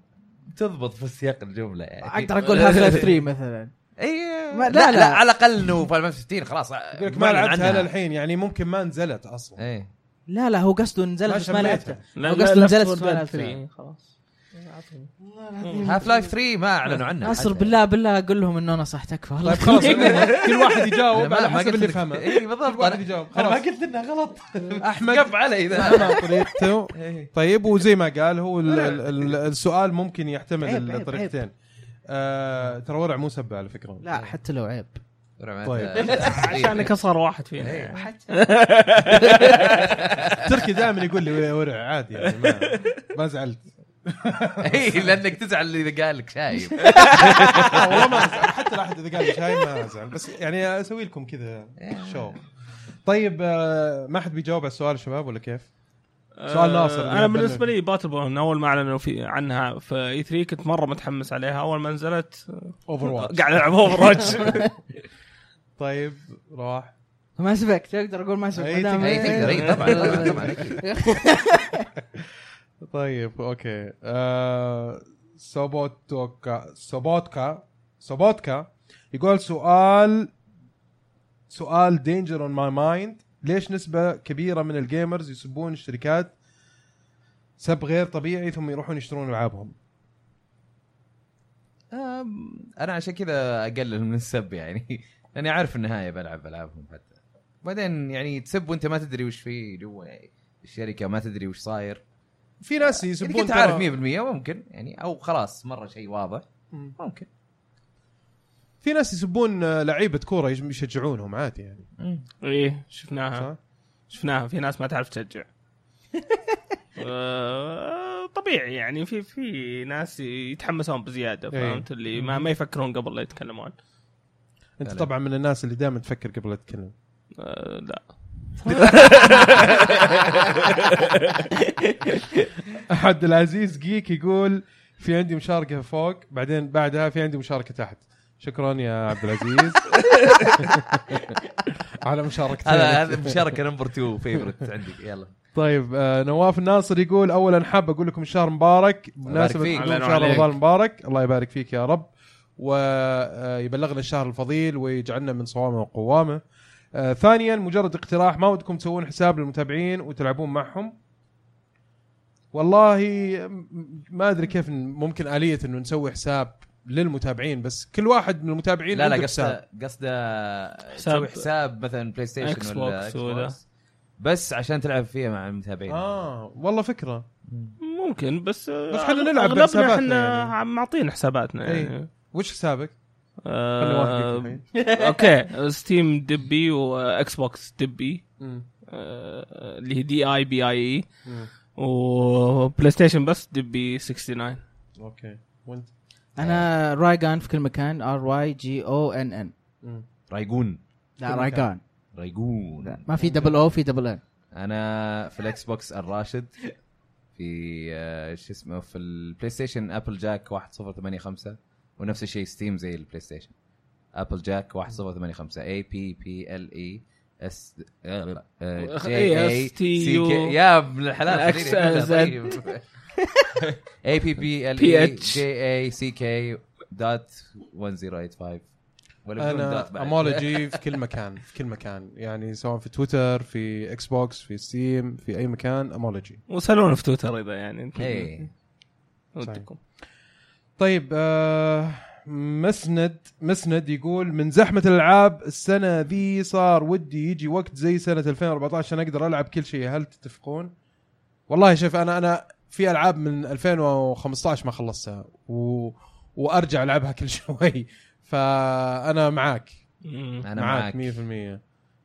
تضبط في سياق الجمله يعني
اقدر اقول هاف لايف 3 مثلا
اي لا,
ما- لا،
لا,
لا.
على الاقل انه فاينل 15 خلاص
يقول لك ما لعبتها للحين يعني ممكن ما نزلت اصلا
ايه
لا لا هو قصده نزلت بس ما
شميتها.
لعبتها
لا،
هو
لا،
قصده
لا،
نزلت
Left 4 Dead
Fallout 3.
3. خلاص
هاف لايف 3 ما اعلنوا عنه
ناصر
حتى.
بالله بالله اقول لهم انه انا صح تكفى والله
طيب خلاص كل واحد يجاوب
ما-
على
ما
حسب
قلت
اللي
لك- طيب،
فهمه
اي بالضبط
واحد
أنا-
يجاوب،
انا ما
خلاص.
قلت انها غلط
احمد
قف علي اذا
ما طريقته
إيه.
طيب وزي ما قال هو ال- ال- ال- السؤال ممكن
عيب،
يحتمل
عيب،
الطريقتين آه، ترى ورع مو سب على فكره
لا حتى لو عيب
طيب.
عشانك اصغر واحد فينا
إيه.
يعني.
تركي دائما يقول لي ورع عادي يعني ما, ما زعلت
اي لانك إيه، تزعل اذا قال لك شايب
لا، آه، والله ما زعلت حتى لا احد اذا قال لي شاي ما ازعل بس يعني اسوي لكم كذا شو طيب آه، ما حد بيجاوب على السؤال يا شباب ولا كيف؟ سؤال ناصر.
آه، انا بالنسبه لي باتل بون اول ما اعلنوا في عنها في E اي 3 كنت مره متحمس عليها اول ما نزلت
اوفر
قاعد العب اوفر واتش
طيب روح
ما سبكت اقدر اقول ما
أي
سبكت
تقدر-
اي تقدر اي طبعا طبعا طبعا اكيد
طيب اوكي آه سوبوتوكا سوبوتكا سوبوتكا يقول سؤال سؤال دينجر اون ماي مايند ليش نسبة كبيرة من الجيمرز يسبون الشركات سب غير طبيعي ثم يروحون يشترون العابهم
أم، انا عشان كذا اقلل من السب يعني لاني عارف النهايه بلعب العابهم حتى بعدين يعني تسب وانت ما تدري وش فيه جوا الشركه ما تدري وش صاير
في ناس
اذا
يسبون
يعني كنت
ترى-
عارف 100% ممكن يعني او خلاص مره شيء واضح ممكن
في ناس يسبون آه، لعيبة كورة يج- يشجعونهم عادي يعني
ايه شفناها
صح؟
شفناها في ناس ما تعرف تشجع آه، طبيعي يعني في في ناس يتحمسون بزياده
إيه.
فهمت اللي ما, ما يفكرون قبل لا يتكلمون
انت
فعلا.
طبعا من الناس اللي دائما تفكر قبل لا تتكلم
آه، لا
احد العزيز جيك يقول في عندي مشاركه فوق بعدين بعدها في عندي مشاركه تحت شكرا يا عبد العزيز على مشاركتك
هذا هذا مشاركه نمبر 2 فيفرت عندي يلا
طيب آه نواف الناصر يقول اولا حاب اقول لكم شهر مبارك بمناسبه
فيك.
دخول
الله
شهر
ينور
رمضان
عليك.
مبارك الله يبارك فيك يا رب ويبلغنا الشهر الفضيل ويجعلنا من صوامه وقوامه آه ثانيا مجرد اقتراح ما ودكم تسوون حساب للمتابعين وتلعبون معهم والله م- ما ادري كيف ن- ممكن اليه انه نسوي حساب للمتابعين بس كل واحد من المتابعين
لا
عنده
لا
حساب.
قصده قصده
حساب-
تسوي حساب مثلا بلاي ستيشن
Xbox
ولا
ولا-
Xbox. بس عشان تلعب فيها مع المتابعين
اه والله فكره
ممكن بس آه،
بس حنا نلعب
اغلبنا
بحساباتنا
احنا
يعني.
عم- معطين حساباتنا
إيه.
يعني
وش حسابك؟ خلني واحد يكتب
آه
الحين.
اوكي ستيم دبي واكس بوكس دبي
مم.
آه، اللي هي دي اي بي اي اي
مم.
وبلاي ستيشن E. بس دبي 69
اوكي وانت
انا رايقان في كل مكان ار واي جي او ان ان
مم.
رايقون
لا
كل
رايقان لا،
رايقون
ما في دبل او في دبل ان
انا في الاكس بوكس الراشد في آه، شو اسمه في البلاي ستيشن ابل جاك 1085 ونفس الشيء ستيم زي البلاي ستيشن ابل جاك 1085 اي بي بي ال اي اس جي اي
إيه، STU.
يا ابن الحلال
X
خليني أبدأ طيب. اي بي بي ال اي
PH.
جي اي سي كي دوت 1085 ولا بدون دوت
انا
بعد.
امولوجي في كل مكان في كل مكان يعني سواء في تويتر في اكس بوكس في ستيم في اي مكان امولوجي
وسالونا في تويتر اذا يعني انتم-
إيه.
ودكم.
طيب آه مسند مسند يقول من زحمه الالعاب السنه ذي صار ودي يجي وقت زي سنه 2014 عشان اقدر العب كل شيء هل تتفقون؟ والله شوف انا انا في العاب من 2015 ما خلصتها و... وارجع العبها كل شوي فانا معاك
مم.
انا
معاك
معاك
100%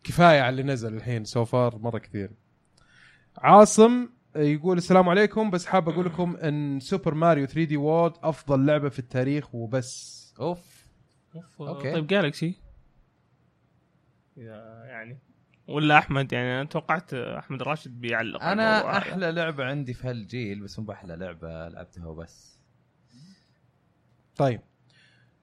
كفايه على اللي نزل الحين سو فار مره كثير عاصم يقول السلام عليكم بس حاب اقول لكم ان سوبر ماريو 3 دي وورد افضل لعبه في التاريخ وبس
اوف
اوكي
أوكي.
طيب جالكسي اذا يعني ولا احمد يعني انا توقعت احمد راشد بيعلق على
انا
الموضوع.
احلى لعبه عندي في هالجيل بس مو باحلى لعبه لعبتها وبس
طيب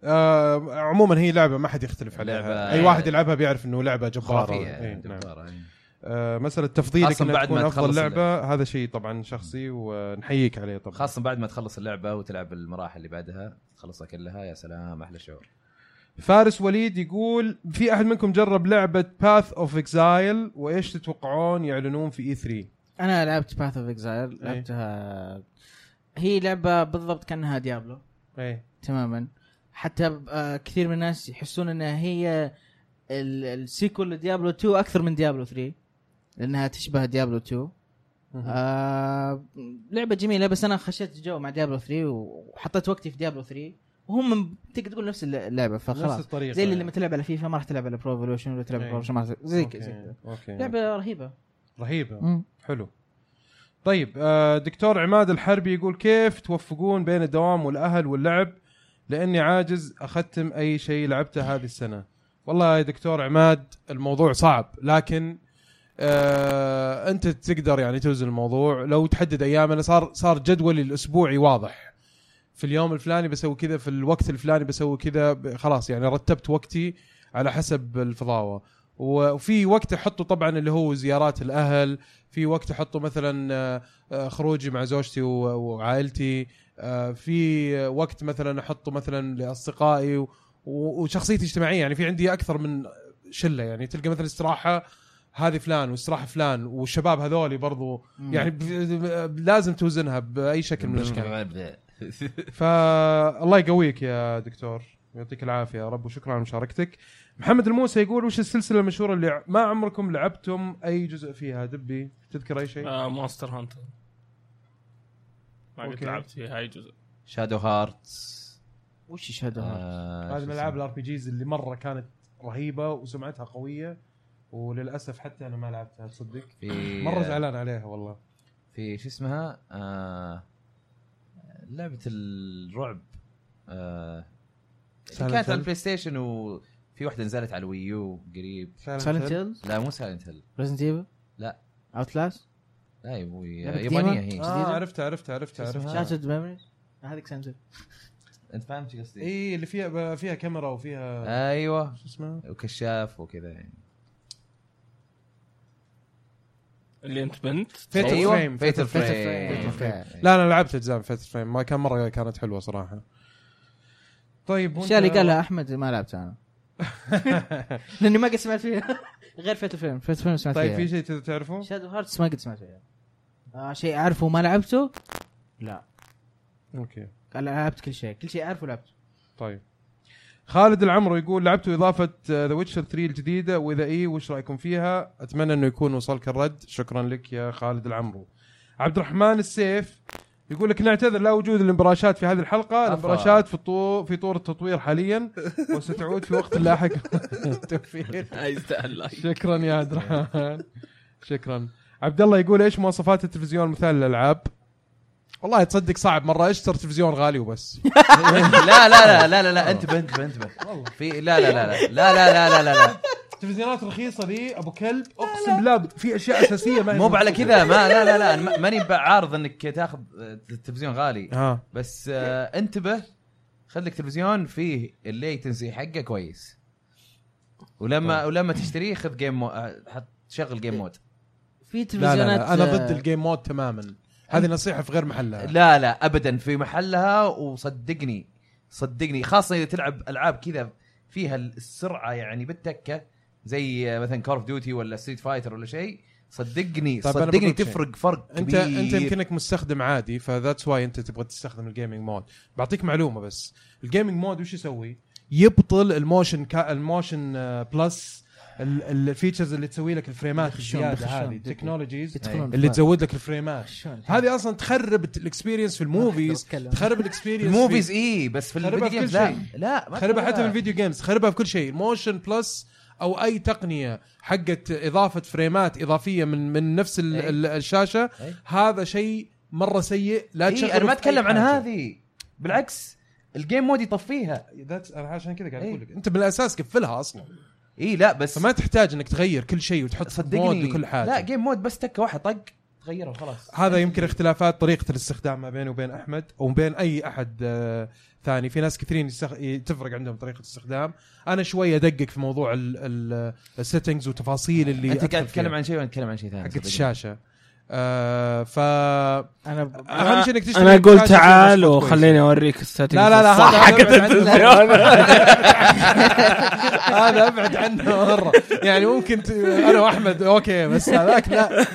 آه عموما هي لعبه ما حد يختلف عليها
لعبة-
اي واحد يلعبها بيعرف انه لعبه جباره
خرافيه
إيه،
يعني
نعم.
جبارة، يعني.
آه مساله تفضيلك
خاصة
انها
بعد ما
تكون افضل
تخلص
لعبه هذا شيء طبعا شخصي ونحييك عليه طبعا
خاصه بعد ما تخلص اللعبه وتلعب المراحل اللي بعدها تخلصها كلها يا سلام احلى شعور
فارس وليد يقول في احد منكم جرب لعبه باث اوف اكزايل وايش تتوقعون يعلنون في E اي 3
انا لعبت باث اوف اكزايل لعبتها هي لعبه بالضبط كانها ديابلو إيه.
ايه
تماما حتى ب- آه، كثير من الناس يحسون انها هي ال- السيكول لديابلو 2 اكثر من ديابلو 3 لانها تشبه ديابلو 2 آه لعبه جميله بس انا خشيت الجو مع ديابلو 3 وحطيت وقتي في ديابلو 3 وهم من- تقدر تقول نفس اللعبه
نفس
فخلاص
الطريقه
زي اللي
يعني.
لما تلعب على فيفا ما راح تلعب على برو ايفولوشن ولا تلعب على
إيه.
برو إيفولوشن، ما راح تلعب- زي كذا زي كذا.
أوكي. اوكي
لعبه رهيبه
رهيبه
مم.
حلو طيب آه، دكتور عماد الحربي يقول كيف توفقون بين الدوام والاهل واللعب لاني عاجز اختم اي شيء لعبته هذه السنه والله يا دكتور عماد الموضوع صعب لكن آه انت تقدر يعني توزن الموضوع لو تحدد ايام انا صار صار جدولي الاسبوعي واضح في اليوم الفلاني بسوي كذا في الوقت الفلاني بسوي كذا ب- خلاص يعني رتبت وقتي على حسب الفضاوه و- وفي وقت احطه طبعا اللي هو زيارات الاهل في وقت احطه مثلا آه، آه، خروجي مع زوجتي و- وعائلتي آه، في وقت مثلا احطه مثلا لاصدقائي و- و- وشخصيتي اجتماعيه يعني في عندي اكثر من شله يعني تلقى مثلا استراحه هذه فلان واستراحه فلان والشباب هذولي برضو يعني ب- ب- لازم توزنها باي شكل من الاشكال فالله يقويك يا دكتور يعطيك العافيه يا رب وشكرا على مشاركتك محمد الموسى يقول وش السلسله المشهوره اللي ع- ما عمركم لعبتم اي جزء فيها دبي تذكر اي شيء
آه مونستر هانتر ما قد
أوكي.
لعبت فيها اي جزء
شادو هارت
وش الشهاده هذا؟
آه،
هذه من العاب الار بي جيز اللي مره كانت رهيبه وسمعتها قويه وللاسف حتى انا ما لعبتها تصدق مره زعلان عليها والله
في شو اسمها آه لعبه الرعب آه اللي
Silent
كانت على
Hill.
البلاي ستيشن وفي واحده نزلت على الويو قريب
سايلنت هيلز
لا مو سايلنت هيل
ريزنت ايفل
لا.
اوت لاست
لا يبو-
لعبة
يابانيه هي
جديدة؟
اه عرفتها عرفتها عرفتها
شو اسمها؟
عرفتها
شاتد ميموريز هذيك سنزل
انت فاهم شو قصدي؟
اي إيه، اللي فيها فيها كاميرا وفيها
ايوه
شو اسمها
وكشاف وكذا يعني
اللي انت بنت
فيتل
أيوة،
فريم
فيتل
Frame.
فريم
لا انا لعبت اجزاء فيتل فريم ما كان مره كانت حلوه صراحه طيب وأنت-
الاشياء اللي قالها احمد ما لعبتها انا لاني ما قد سمعت فيها غير فيت الفيلم فيت الفيلم سمعت
طيب
فيها
في شيء تبي تعرفه؟
شادو هارتس ما قد سمعت فيها آه شيء اعرفه وما لعبته لا
اوكي
قال أنا لعبت كل شيء كل شيء اعرفه لعبته
طيب خالد العمرو يقول آه، لعبتوا اضافه ذا ويتشر 3 الجديده واذا اي إيه، وش رايكم فيها؟ اتمنى انه يكون وصلك الرد شكرا لك يا خالد العمرو. عبد الرحمن السيف يقول لك نعتذر لا وجود الامبراشات في هذه الحلقه، الامبراشات في طو... في طور التطوير حاليا وستعود في وقت لاحق التوفيق
يستاهل لايك.
شكرا يا عبد الرحمن شكرا عبد الله يقول ايش مواصفات التلفزيون المثال للالعاب؟ والله تصدق صعب مره اشتر تلفزيون غالي وبس
لا لا لا لا لا لا انتبه انتبه انتبه في لا لا لا لا لا لا لا لا لا
التلفزيونات الرخيصه ذي ابو كلب اقسم بالله في اشياء اساسيه ما هي
مو
موجودة.
على كذا ما لا لا لا أنا ما- ماني بعارض انك تاخذ آه، تلفزيون غالي
ها
بس آه، انتبه خليك تلفزيون فيه الليتنسي حقه كويس ولما ولما تشتريه خذ جيم مو... آه، حط شغل جيم مود
في
لا, لا,
تلفزيونات
لا انا ضد
آه،
الجيم مود تماما هذه نصيحه في غير محلها
لا لا ابدا في محلها وصدقني صدقني خاصه اذا تلعب العاب كذا فيها السرعه يعني بالتكه زي مثلا كور اوف ديوتي ولا ستريت فايتر ولا شيء صدقني
طيب أنا
صدقني
بقولك شيء.
تفرق فرق
انت
كبير
انت يمكنك مستخدم عادي فذاتس واي انت تبغى تستخدم الجيمنج مود بعطيك معلومه بس الجيمنج مود وش يسوي يبطل الموشن كا الموشن آه، بلس ال- الفيتشرز اللي تسوي لك الفريمات
بيخشون-
الزياده
بيخشون
هذه
بيخشون.
التكنولوجيز
يدخلون
اللي
في-
تزود لك الفريمات
شلون؟
هذه اصلا تخرب الاكسبيرينس في الموفيز
أتكلم.
تخرب الاكسبيرينس
الموفيز اي إيه، بس في
خربها
الفيديو
في كل
جيمز لا
شيء.
لا
خربها
ما
حتى في
تخربها.
الفيديو جيمز خربها في كل شيء الموشن بلس او اي تقنيه حقت اضافه فريمات اضافيه من من نفس ال-
أي.
ال- الشاشه
أي.
هذا شيء مره سيء لا تشغله
إيه انا ما
في أي
اتكلم عن
حاجة.
هذه بالعكس الجيم مود يطفيها
That's- انا عشان كذا قاعد
أي.
اقول لك انت من الاساس قفلها اصلا
اي إيه، لا بس
فما تحتاج انك تغير كل شيء وتحط مود
صدقني
لكل حاجه
لا جيم مود بس تكه واحد طق تغيره وخلاص
هذا يمكن اختلافات طريقه الاستخدام ما بيني وبين احمد او بين اي احد آه، ثاني في ناس كثيرين يستخ... تفرق عندهم طريقه استخدام انا شويه ادقق في موضوع السيتنجز وتفاصيل اللي
انت
أدخل
قاعد
فيها.
تتكلم عن شيء وانا اتكلم عن شيء ثاني
يعني
حقت
صدقني.
الشاشه آه ف
انا ب-
اهم شيء انك تشتري
انا
كاش
اقول
عشان
تعال
تشوف كويس.
وخليني اوريك السيتنج
لا لا لا
الصح
هذا
حقت
أبعد عنه.
التلفزيون
هذا ابعد عنه مره يعني ممكن ت... انا واحمد اوكي بس هذاك لا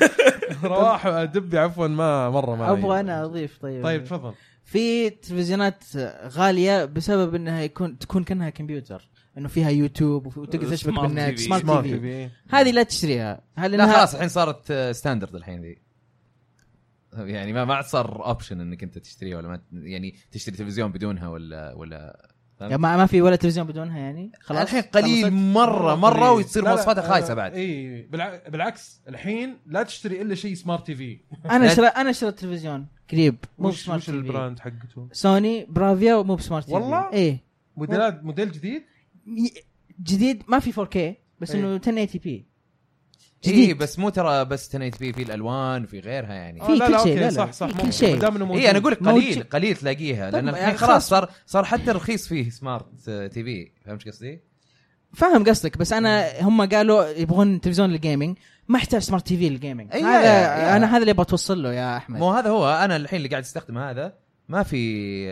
رواح دبي عفوا ما مره ما
ابغى
يجي.
انا اضيف طيب
طيب تفضل
في تلفزيونات غاليه بسبب انها يكون تكون كانها كمبيوتر انه فيها يوتيوب وفي- وتقدر تشبك
Smart
بالنت
TV.
سمارت تي في
بي
هذه لا تشتريها هل
لا
إنها-
خلاص الحين صارت آه، ستاندرد الحين ذي يعني ما ما عاد صار اوبشن انك انت تشتريها ولا ما يعني تشتري تلفزيون بدونها ولا ولا
يعني ما ما في ولا تلفزيون بدونها يعني خلاص
الحين قليل
خلصت؟
مره مره وتصير مواصفاتها خايسه بعد
اي إيه، بالع... بالعكس الحين لا تشتري الا شيء سمارت تي في
انا شرا انا شريت تلفزيون قريب مو
وش
بسمارت
وش
تي في
البراند حقته؟
سوني برافيا ومو بسمارت تي في
والله؟
ايه
موديلات موديل جديد؟
ي- جديد ما في 4K بس
إيه.
انه 1080 بي
اي إيه، بس مو ترى بس 1080 بي في الالوان في غيرها يعني
آه،
في
لا
كل
لا
شيء،
اوكي
لا لا،
صح صح
في
مو-
كل شيء. إيه،
ما دام إنه
اي
موجود.
انا اقول لك قليل
موجود.
قليل تلاقيها لان
طب
الحين
يعني
طيب، خلاص
خلاص.
صار صار حتى الرخيص فيه سمارت آه، تي في فهمت شو قصدي؟
فاهم قصدك بس انا هم قالوا يبغون تلفزيون للجيمنج ما احتاج سمارت تي في للجيمنج
أي
هذا
إيه، يا- يا.
انا هذا اللي بتوصل له يا احمد
مو هذا هو انا الحين اللي قاعد استخدم هذا ما في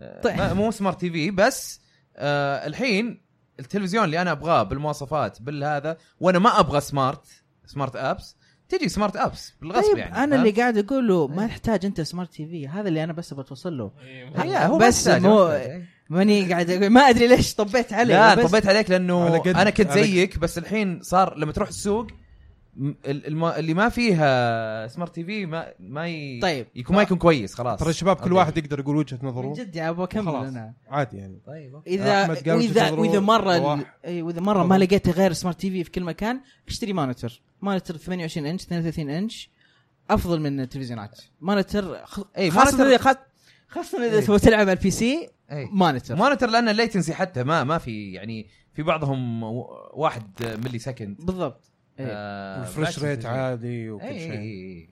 آه،
طيب.
ما- مو سمارت تي في بس آه الحين التلفزيون اللي انا ابغاه بالمواصفات بالهذا وانا ما ابغى سمارت سمارت ابس تجي سمارت ابس بالغصب
طيب
يعني إيه.
انا اللي
فاهم؟
قاعد اقوله ما تحتاج انت سمارت تي في هذا اللي انا بس بتوصل له
إيه، يا، هو
بس
محتاج،
مو-
محتاج، أي.
ماني قاعد أقول ما ادري ليش طبيت عليه
لا
بس
طبيت عليك لانه
على قد-
انا كنت
على قد-
زيك بس الحين صار لما تروح السوق م- ال- الم- اللي ما فيها سمارت تي في ما ما ي...
طيب.
يكون ما يكون كويس خلاص
ترى الشباب كل
أوكي.
واحد يقدر يقول وجهه
من
نظره
جد يا ابو اكمل
خلاص.
انا
عادي يعني
طيب أوكي.
اذا
أحمد قال
واذا
وجهة
واذا
نظره
مره ال-
وراح.
اي واذا مره إيه، ما
تفضل.
لقيت غير سمارت تي في في كل مكان اشتري مونيتور مونيتور 28 انش 32 انش افضل من التلفزيونات مونيتور خ-
اي
خاصه
مونيتور
اذا خ- خاصه اذا
إيه.
تبغى تلعب على البي سي
اي
مونيتور
مونيتور لان الليتنسي حتى ما ما في يعني في بعضهم و- واحد ملي سكند
بالضبط إيه.
آه،
والفريش
بالعكس إيه،
ريت
التلفزيون.
عادي
اي
وكل
اي
شيء
اي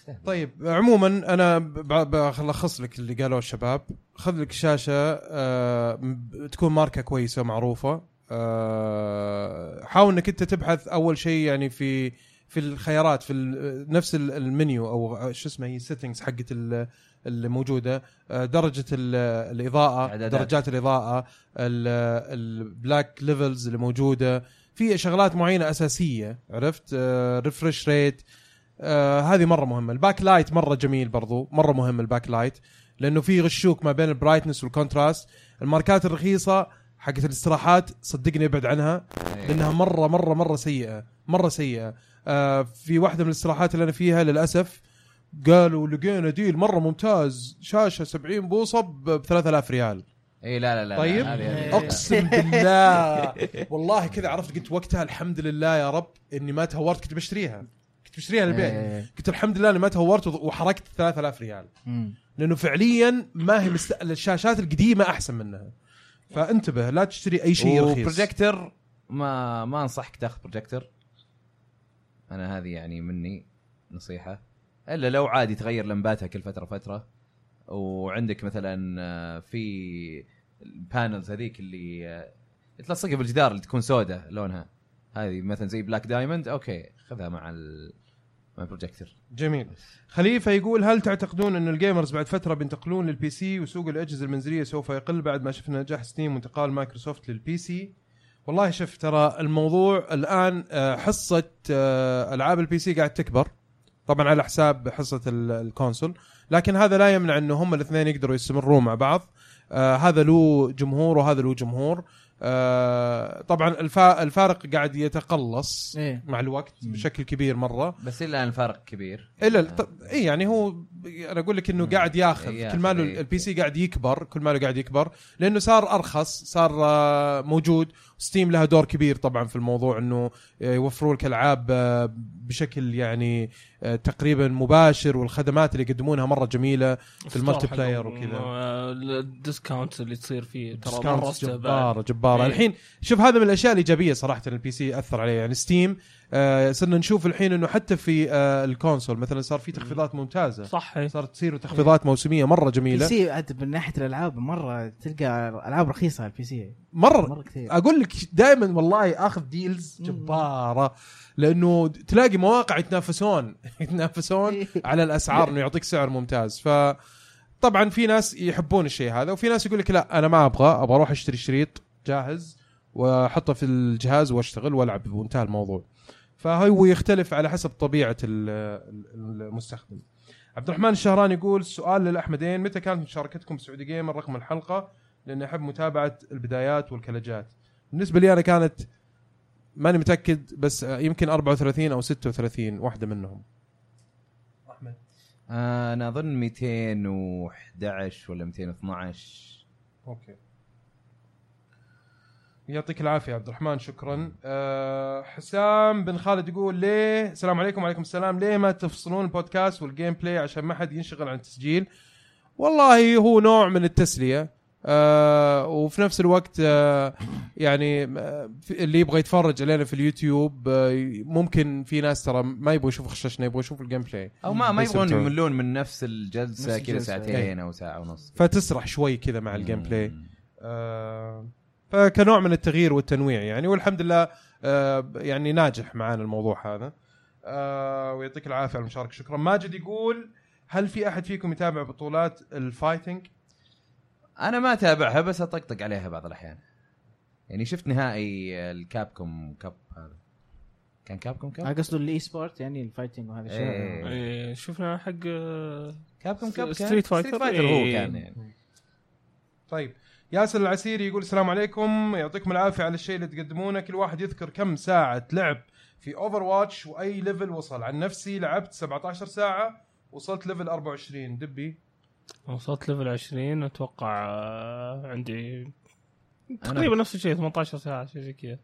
استهبل.
طيب عموما انا ب- بلخص لك اللي قالوه الشباب خذ لك شاشه آه، م- تكون ماركه كويسه معروفه آه، حاول انك انت تبحث اول شيء يعني في في الخيارات في ال- نفس ال- المنيو او شو اسمه هي السيتنجز حقت ال- اللي موجوده آه، درجه ال- الاضاءه
إعدادات.
درجات الاضاءه البلاك ليفلز اللي موجوده في شغلات معينه اساسيه عرفت ريفرش ريت آه هذه مره مهمه الباك لايت مره جميل برضو مره مهم الباك لايت لانه في غشوك ما بين البرايتنس والكونتراست الماركات الرخيصه حقت الاستراحات صدقني ابعد عنها
إي.
لانها مره مره مره سيئه مره سيئه آه في واحده من الاستراحات اللي انا فيها للاسف قالوا لقينا ديل مره ممتاز شاشه 70 بوصه ب 3000 ريال
اي إيه، لا لا لا
طيب
لا، هذه- هذه-
اقسم بالله والله كذا عرفت قلت وقتها الحمد لله يا رب اني ما تهورت كنت بشتريها كنت بشتريها
إيه.
للبيت
إي.
قلت الحمد لله اني ما تهورت وض- وحركت 3000 ريال
مم.
لانه فعليا ما هي مست... الشاشات القديمه احسن منها فانتبه لا تشتري اي شيء رخيص
وبروجيكتر ما ما انصحك تاخذ بروجيكتر انا هذه يعني مني نصيحه الا لو عادي تغير لمباتها كل فتره فتره وعندك مثلا آه، في البانلز هذيك اللي آه، تلصقها بالجدار اللي تكون سوداء لونها هذه مثلا زي بلاك دايموند اوكي خذها مع ال مع البروجيكتر
جميل خليفه يقول هل تعتقدون ان الجيمرز بعد فتره بينتقلون للبي سي وسوق الاجهزه المنزليه سوف يقل بعد ما شفنا نجاح ستيم وانتقال مايكروسوفت للبي سي والله شوف ترى الموضوع الان آه، حصه آه، العاب البي سي قاعد تكبر طبعا على حساب حصه ال- الكونسول لكن هذا لا يمنع انه هم الاثنين يقدروا يستمرون مع بعض آه، هذا له جمهور وهذا له جمهور آه، طبعا الفا- الفارق قاعد يتقلص
إيه.
مع الوقت بشكل كبير مره
بس الا ان الفرق كبير
الا
آه.
طب اي يعني هو ب- انا اقول لك انه
مم.
قاعد ياخذ
ياخذ،
كل
إيه.
ماله
إي.
البي سي قاعد يكبر كل ماله قاعد يكبر لانه صار ارخص صار آه، موجود ستيم لها دور كبير طبعا في الموضوع انه آه، يوفروا لك العاب آه، بشكل يعني آه، تقريبا مباشر والخدمات اللي يقدمونها مره جميله في الملتي
حلو.
بلاير وكذا.
آه، الديسكاونت اللي تصير فيه ترى مره
ديسكاونتس
استهبال
جباره جباره
إيه.
الحين شوف هذا من الاشياء الايجابيه صراحه البي سي اثر عليه يعني ستيم آه صرنا نشوف الحين انه حتى في آه الكونسول مثلا صار في تخفيضات ممتازه
صح إيه.
صارت تصير تخفيضات موسميه مره
البي
جميله
سي عاد من ناحيه الالعاب مره تلقى العاب رخيصه على البي سي
مره
مره كثير
اقول لك دائما والله اخذ ديلز
مم.
جباره لانه تلاقي مواقع يتنافسون
إيه.
يتنافسون على الاسعار انه يعطيك سعر ممتاز ف طبعا في ناس يحبون الشيء هذا وفي ناس يقول لك لا انا ما ابغى ابغى اروح اشتري شريط جاهز واحطه في الجهاز واشتغل والعب بمنتهى الموضوع فهو يختلف على حسب طبيعه ال- ال- المستخدم عبد الرحمن الشهراني يقول سؤال للاحمدين متى كانت مشاركتكم بسعودي جيمر رقم الحلقه لاني احب متابعه البدايات والكلجات بالنسبه لي انا كانت ماني متاكد بس يمكن 34 او 36 واحده منهم
انا اظن 211 ولا 212
اوكي يعطيك العافيه عبد الرحمن شكرا أه حسام بن خالد يقول ليه السلام عليكم وعليكم السلام ليه ما تفصلون البودكاست والجيم بلاي عشان ما حد ينشغل عن التسجيل والله هو نوع من التسليه أه وفي نفس الوقت أه يعني آه، في- اللي يبغى يتفرج علينا في اليوتيوب أه ممكن في ناس ترى ما يبغوا يشوفوا خشاشنا يبغوا يشوفوا الجيم بلاي
او ما ما
بس
يبغون
بتوع-
يملون من نفس الجلسه
نفس
كذا
الجلسة. إيه.
ساعتين او ساعه ونص
فتسرح شوي كذا مع الجيم بلاي
مم.
آه، فكنوع من التغيير والتنويع يعني والحمد لله آه، يعني ناجح معانا الموضوع هذا آه، ويعطيك العافيه على المشاركه شكرا ماجد يقول هل في احد فيكم يتابع بطولات الفايتنج
انا ما اتابعها بس اطقطق عليها بعض الاحيان يعني شفت نهائي الكابكوم كاب هذا كان كابكوم كاب
قصده الاي سبورت يعني الفايتنج وهذا الشيء
إيه.
إيه، شفنا حق آه،
كابكوم كاب كان
ستريت فايتر.
ستريت فايتر هو
إيه.
كان يعني
طيب ياسر العسيري يقول السلام عليكم يعطيكم العافيه على الشيء اللي تقدمونه كل واحد يذكر كم ساعه لعب في اوفر واتش واي ليفل وصل عن نفسي لعبت 17 ساعه وصلت ليفل 24 دبي
وصلت ليفل 20 اتوقع آه، عندي تقريبا
انا
نفس الشيء 18 ساعه شيء زي كذا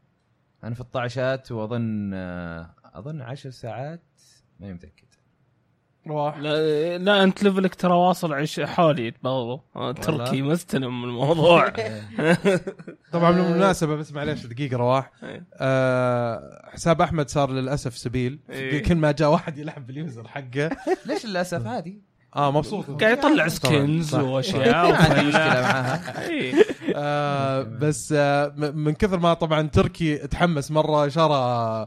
انا في الطعشات واظن آه، اظن 10 ساعات ماني متاكد
راح
لا, لا انت ليفلك ترى واصل عش حولي برضو آه، تركي مستلم الموضوع
طبعا بالمناسبه بس معليش دقيقه رواح
آه. إيه.
آه حساب احمد صار للاسف سبيل
إيه.
كل ما جاء واحد يلعب باليوزر حقه
ليش للاسف عادي
اه مبسوط
قاعد يطلع سكنز
صح.
واشياء
يعني
ما عندي
وفلاح.
مشكله معاها
إيه.
آه بس آه م- من كثر ما طبعا تركي تحمس مره شرى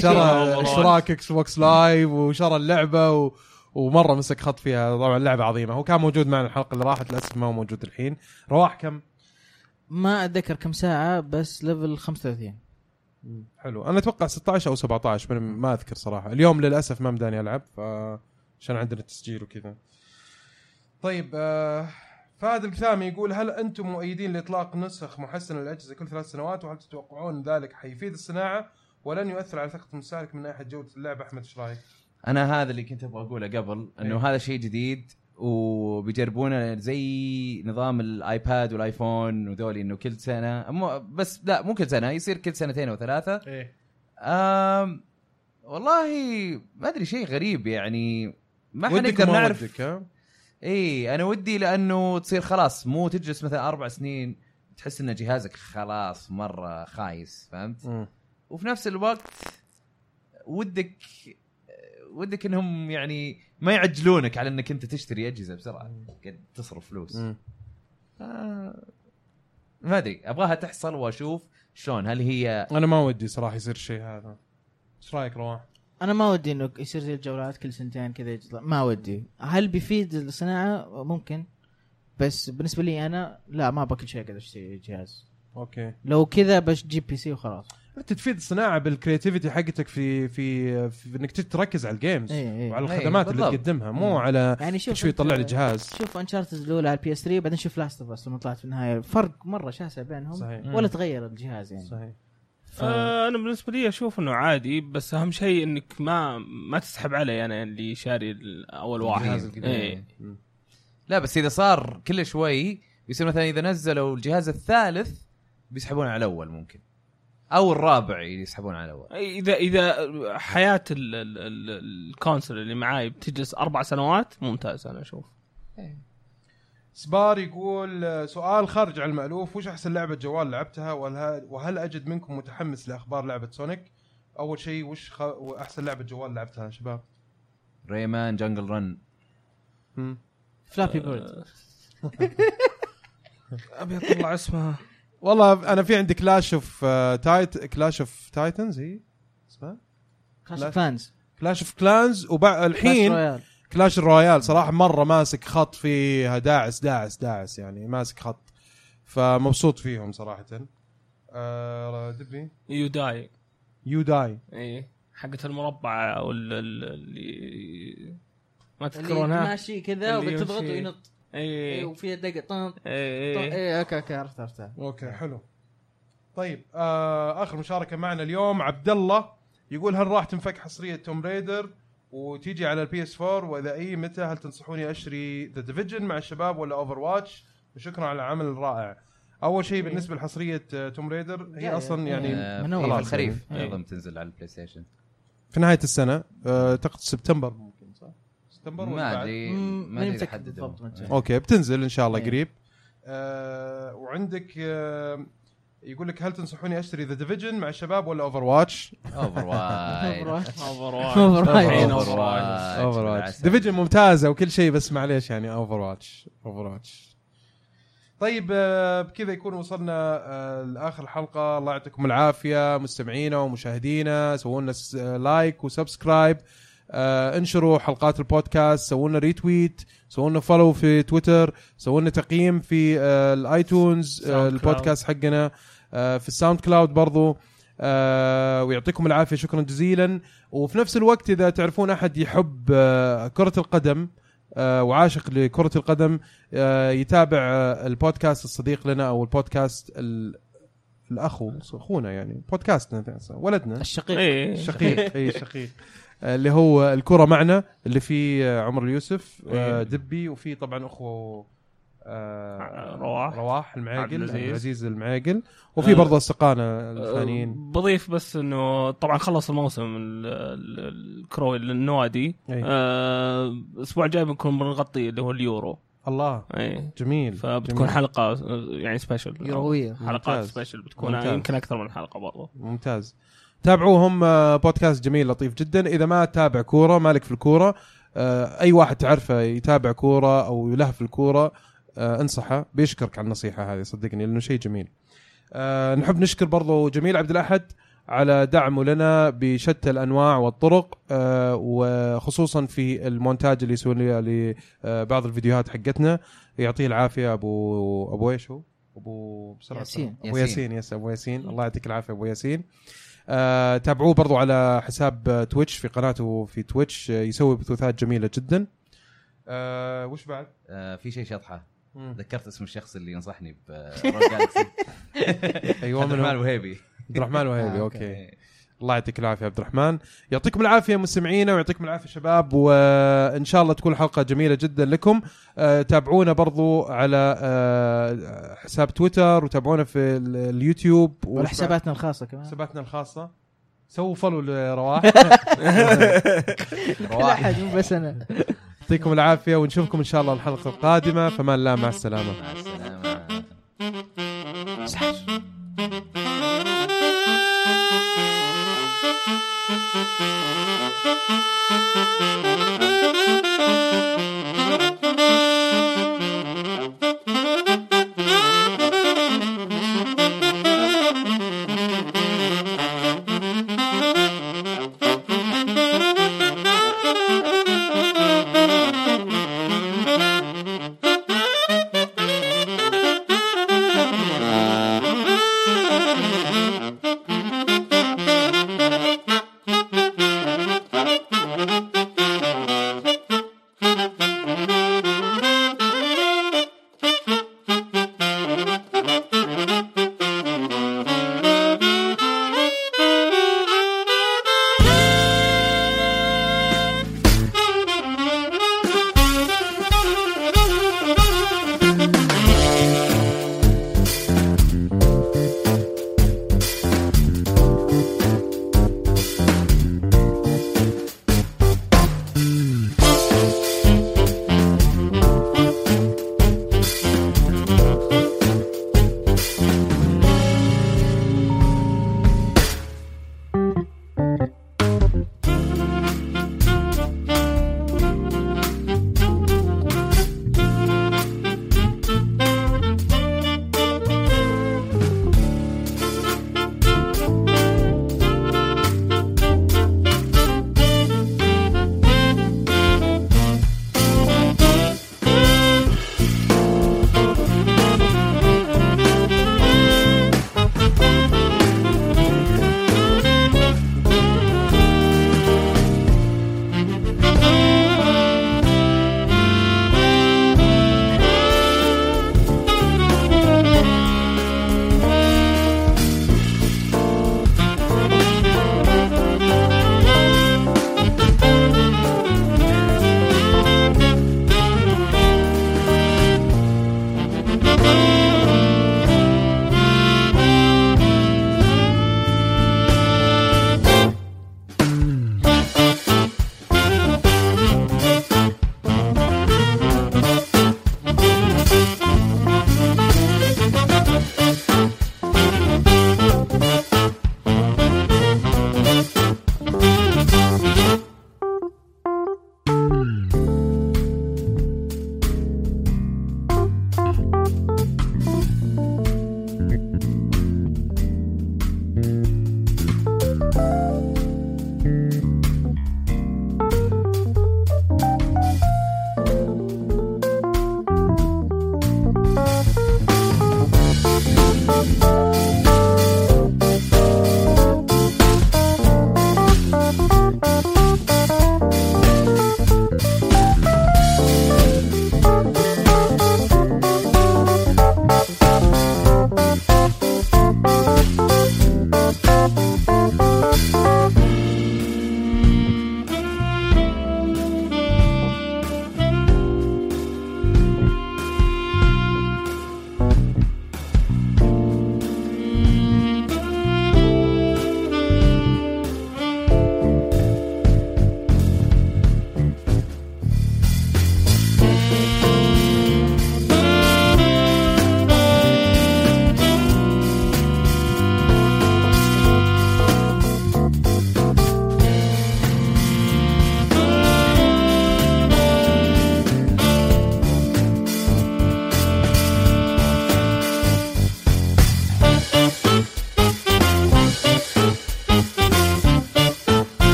شرى اشتراك اكس بوكس لايف وشرى اللعبه و... ومره مسك خط فيها طبعا لعبه عظيمه هو كان موجود معنا الحلقه اللي راحت للاسف ما هو موجود الحين رواح كم
ما اتذكر كم ساعه بس ليفل 35
حلو انا اتوقع 16 او 17 من ما اذكر صراحه اليوم للاسف ما مداني العب ف عشان عندنا تسجيل وكذا طيب آه، فهد الكثامي يقول هل انتم مؤيدين لاطلاق نسخ محسنه للاجهزه كل ثلاث سنوات وهل تتوقعون ذلك حيفيد الصناعه ولن يؤثر على ثقه المستهلك من ناحيه جوده اللعبه احمد ايش رايك؟
انا هذا اللي كنت ابغى اقوله قبل انه هذا شيء جديد وبيجربونه زي نظام الايباد والايفون وذولي انه كل سنه مو بس لا مو كل سنه يصير كل سنتين او ثلاثه
ايه
أم والله ما ادري شيء غريب يعني ما حنقدر نعرف اي انا ودي لانه تصير خلاص مو تجلس مثلا اربع سنين تحس ان جهازك خلاص مره خايس فهمت؟ وفي نفس الوقت ودك ودك انهم يعني ما يعجلونك على انك انت تشتري اجهزه بسرعه قد تصرف فلوس آه، ما ادري ابغاها تحصل واشوف شلون هل هي
انا ما ودي صراحه يصير شيء هذا ايش رايك رواح؟
انا ما ودي انه يصير زي الجولات كل سنتين كذا يطلع ما ودي هل بيفيد الصناعه ممكن بس بالنسبه لي انا لا ما باكل شيء قاعد اشتري جهاز
اوكي
لو كذا بجيب بي سي وخلاص
انت تفيد الصناعه بالكرياتيفيتي حقتك في في, في انك تركز على الجيمز
إيه، إيه.
وعلى
إيه،
الخدمات اللي
بالضبط.
تقدمها مو على
يعني
كل
شوف
شوي
أنت-
يطلع لي جهاز
شوف انشارتد الاولى على البي اس 3 بعدين شوف لاست اوف اس لما طلعت في النهايه فرق مره شاسع بينهم
صحيح.
ولا تغير الجهاز يعني
صحيح
ف...
آه، انا بالنسبه لي اشوف انه عادي بس اهم شيء انك ما ما تسحب علي انا اللي شاري ال- اول
الجهاز
واحد
القديم؟
إيه.
لا بس اذا صار كل شوي بيصير مثلا اذا نزلوا الجهاز الثالث بيسحبون على الاول ممكن او الرابع يسحبون على الاول
اذا اذا حياه ال- ال- ال- الكونسل اللي معاي بتجلس اربع سنوات ممتاز انا اشوف
سبار يقول آه، سؤال خارج عن المألوف وش أحسن لعبة جوال لعبتها وهل, وهل أجد منكم متحمس لأخبار لعبة سونيك أول شيء وش خ... أحسن لعبة جوال لعبتها شباب
ريمان جنجل رن
هم.
فلابي بيرد
ابي اطلع اسمها
والله أنا في عندي آه، كلاش أوف تايت كلاش أوف تايتنز هي إيه؟ اسمها
كلاش
لا.
اوف كلانز
كلاش أوف كلانز والحين كلاش الرويال صراحة مرة ماسك خط فيها داعس داعس داعس يعني ماسك خط فمبسوط فيهم صراحة آه، دبي
يوداي
يو داي
اي حقت المربع او ال- ال- اللي ما تذكرونها
ماشي كذا
اللي
وبتضغط
يمشي. إيه.
وينط إيه،
اي
وفيها دقة طن
اي
ايه اوكي اوكي عرفت عرفت
اوكي حلو طيب آه اخر مشاركه معنا اليوم عبد الله يقول هل راح تنفك حصريه توم ريدر وتيجي على البي اس 4 واذا اي متى هل تنصحوني اشتري ذا ديفيجن مع الشباب ولا اوفر واتش وشكرا على العمل الرائع اول شيء بالنسبه لحصريه آه، توم ريدر هي
إيه. جاية.
اصلا
إيه.
يعني
آه،
من
في
أول.
في الخريف
إيه.
اظن تنزل على البلاي ستيشن
في نهايه السنه آه، اعتقد سبتمبر ممكن صح؟ سبتمبر ولا بعد؟
ما ادري
مم،
ما
ماني
ادري
متأكد
حددوا.
بالضبط متى.
اوكي بتنزل ان شاء الله
إيه.
قريب آه وعندك آه يقول لك هل تنصحوني اشتري ذا ديفيجن مع الشباب ولا اوفر واتش؟
اوفر وايد
Overwatch.
طيب.
الحين
اوفر
Overwatch.
وايد
اوفر واتش
بالعسل.
ديفيجن ممتازه وكل شيء بس معليش يعني اوفر واتش اوفر واتش طيب آه، بكذا يكون وصلنا آه، لاخر الحلقه الله يعطيكم العافيه مستمعينا ومشاهدينا سووا لنا س- آه، لايك وسبسكرايب آه، انشروا حلقات البودكاست سووا لنا ريتويت سووا لنا فولو في تويتر سووا لنا تقييم في آه، الايتونز آه،
ساوند
البودكاست حقنا آه، في الساوند كلاود برضو آه، ويعطيكم العافيه شكرا جزيلا وفي نفس الوقت اذا تعرفون احد يحب آه، كره القدم آه، وعاشق لكره القدم آه، يتابع آه، البودكاست الصديق لنا او البودكاست ال- الاخو اخونا يعني بودكاستنا ولدنا
الشقيق
اي
شقيق اي شقيق آه، اللي هو الكره معنا اللي فيه آه، عمر اليوسف آه،
إيه.
دبي وفي طبعا اخوه آه،
رواح.
رواح المعاقل
عبد العزيز.
عبد العزيز المعاقل وفي
آه،
برضه اصدقائنا الثانيين
أه، بضيف بس انه طبعا خلص الموسم ال- ال- الكروي للنوادي
أي.
آه، الاسبوع الجاي بنكون بنغطي اللي هو اليورو
الله
اي
جميل
آه. فبتكون
جميل.
حلقه آه، يعني سبيشل
يرويه
حلقات
ممتاز.
سبيشل بتكون
ممتاز.
يمكن اكثر من حلقه برضو
ممتاز تابعوهم آه، بودكاست جميل لطيف جدا اذا ما تابع كوره مالك في الكوره آه، اي واحد تعرفه يتابع كوره او له في الكوره آه، انصحه بيشكرك على النصيحه هذه صدقني لانه شيء جميل آه، نحب نشكر برضو جميل عبد الاحد على دعمه لنا بشتى الانواع والطرق آه، وخصوصا في المونتاج اللي يسوي لي لبعض الفيديوهات حقتنا يعطيه العافيه ابو ابو ايش هو؟ ابو بسرعه
ياسين.
ابو
ياسين.
ياسين يس ابو ياسين الله يعطيك العافيه ابو ياسين آه، تابعوه برضو على حساب آه، تويتش في قناته في تويتش آه، يسوي بثوثات جميله جدا آه، وش بعد؟
آه في شيء شطحه
مم.
ذكرت اسم الشخص اللي ينصحني ب Rogue Galaxy.
ايوه
عبد
من هو؟
الرحمن الوهيبي إيه،
عبد الرحمن وهيبي
آه،
اوكي الله يعطيك العافيه عبد الرحمن يعطيكم العافيه مستمعينا ويعطيكم العافيه شباب وان شاء الله تكون حلقه جميله جدا لكم آه، تابعونا برضو على آه، حساب تويتر وتابعونا في ال- اليوتيوب
ولا حساباتنا الخاصه كمان
حساباتنا الخاصه سووا فولو لرواح
كل احد مو بس انا
يعطيكم العافيه ونشوفكم ان شاء الله الحلقه القادمه فمان لا مع السلامه
مع السلامه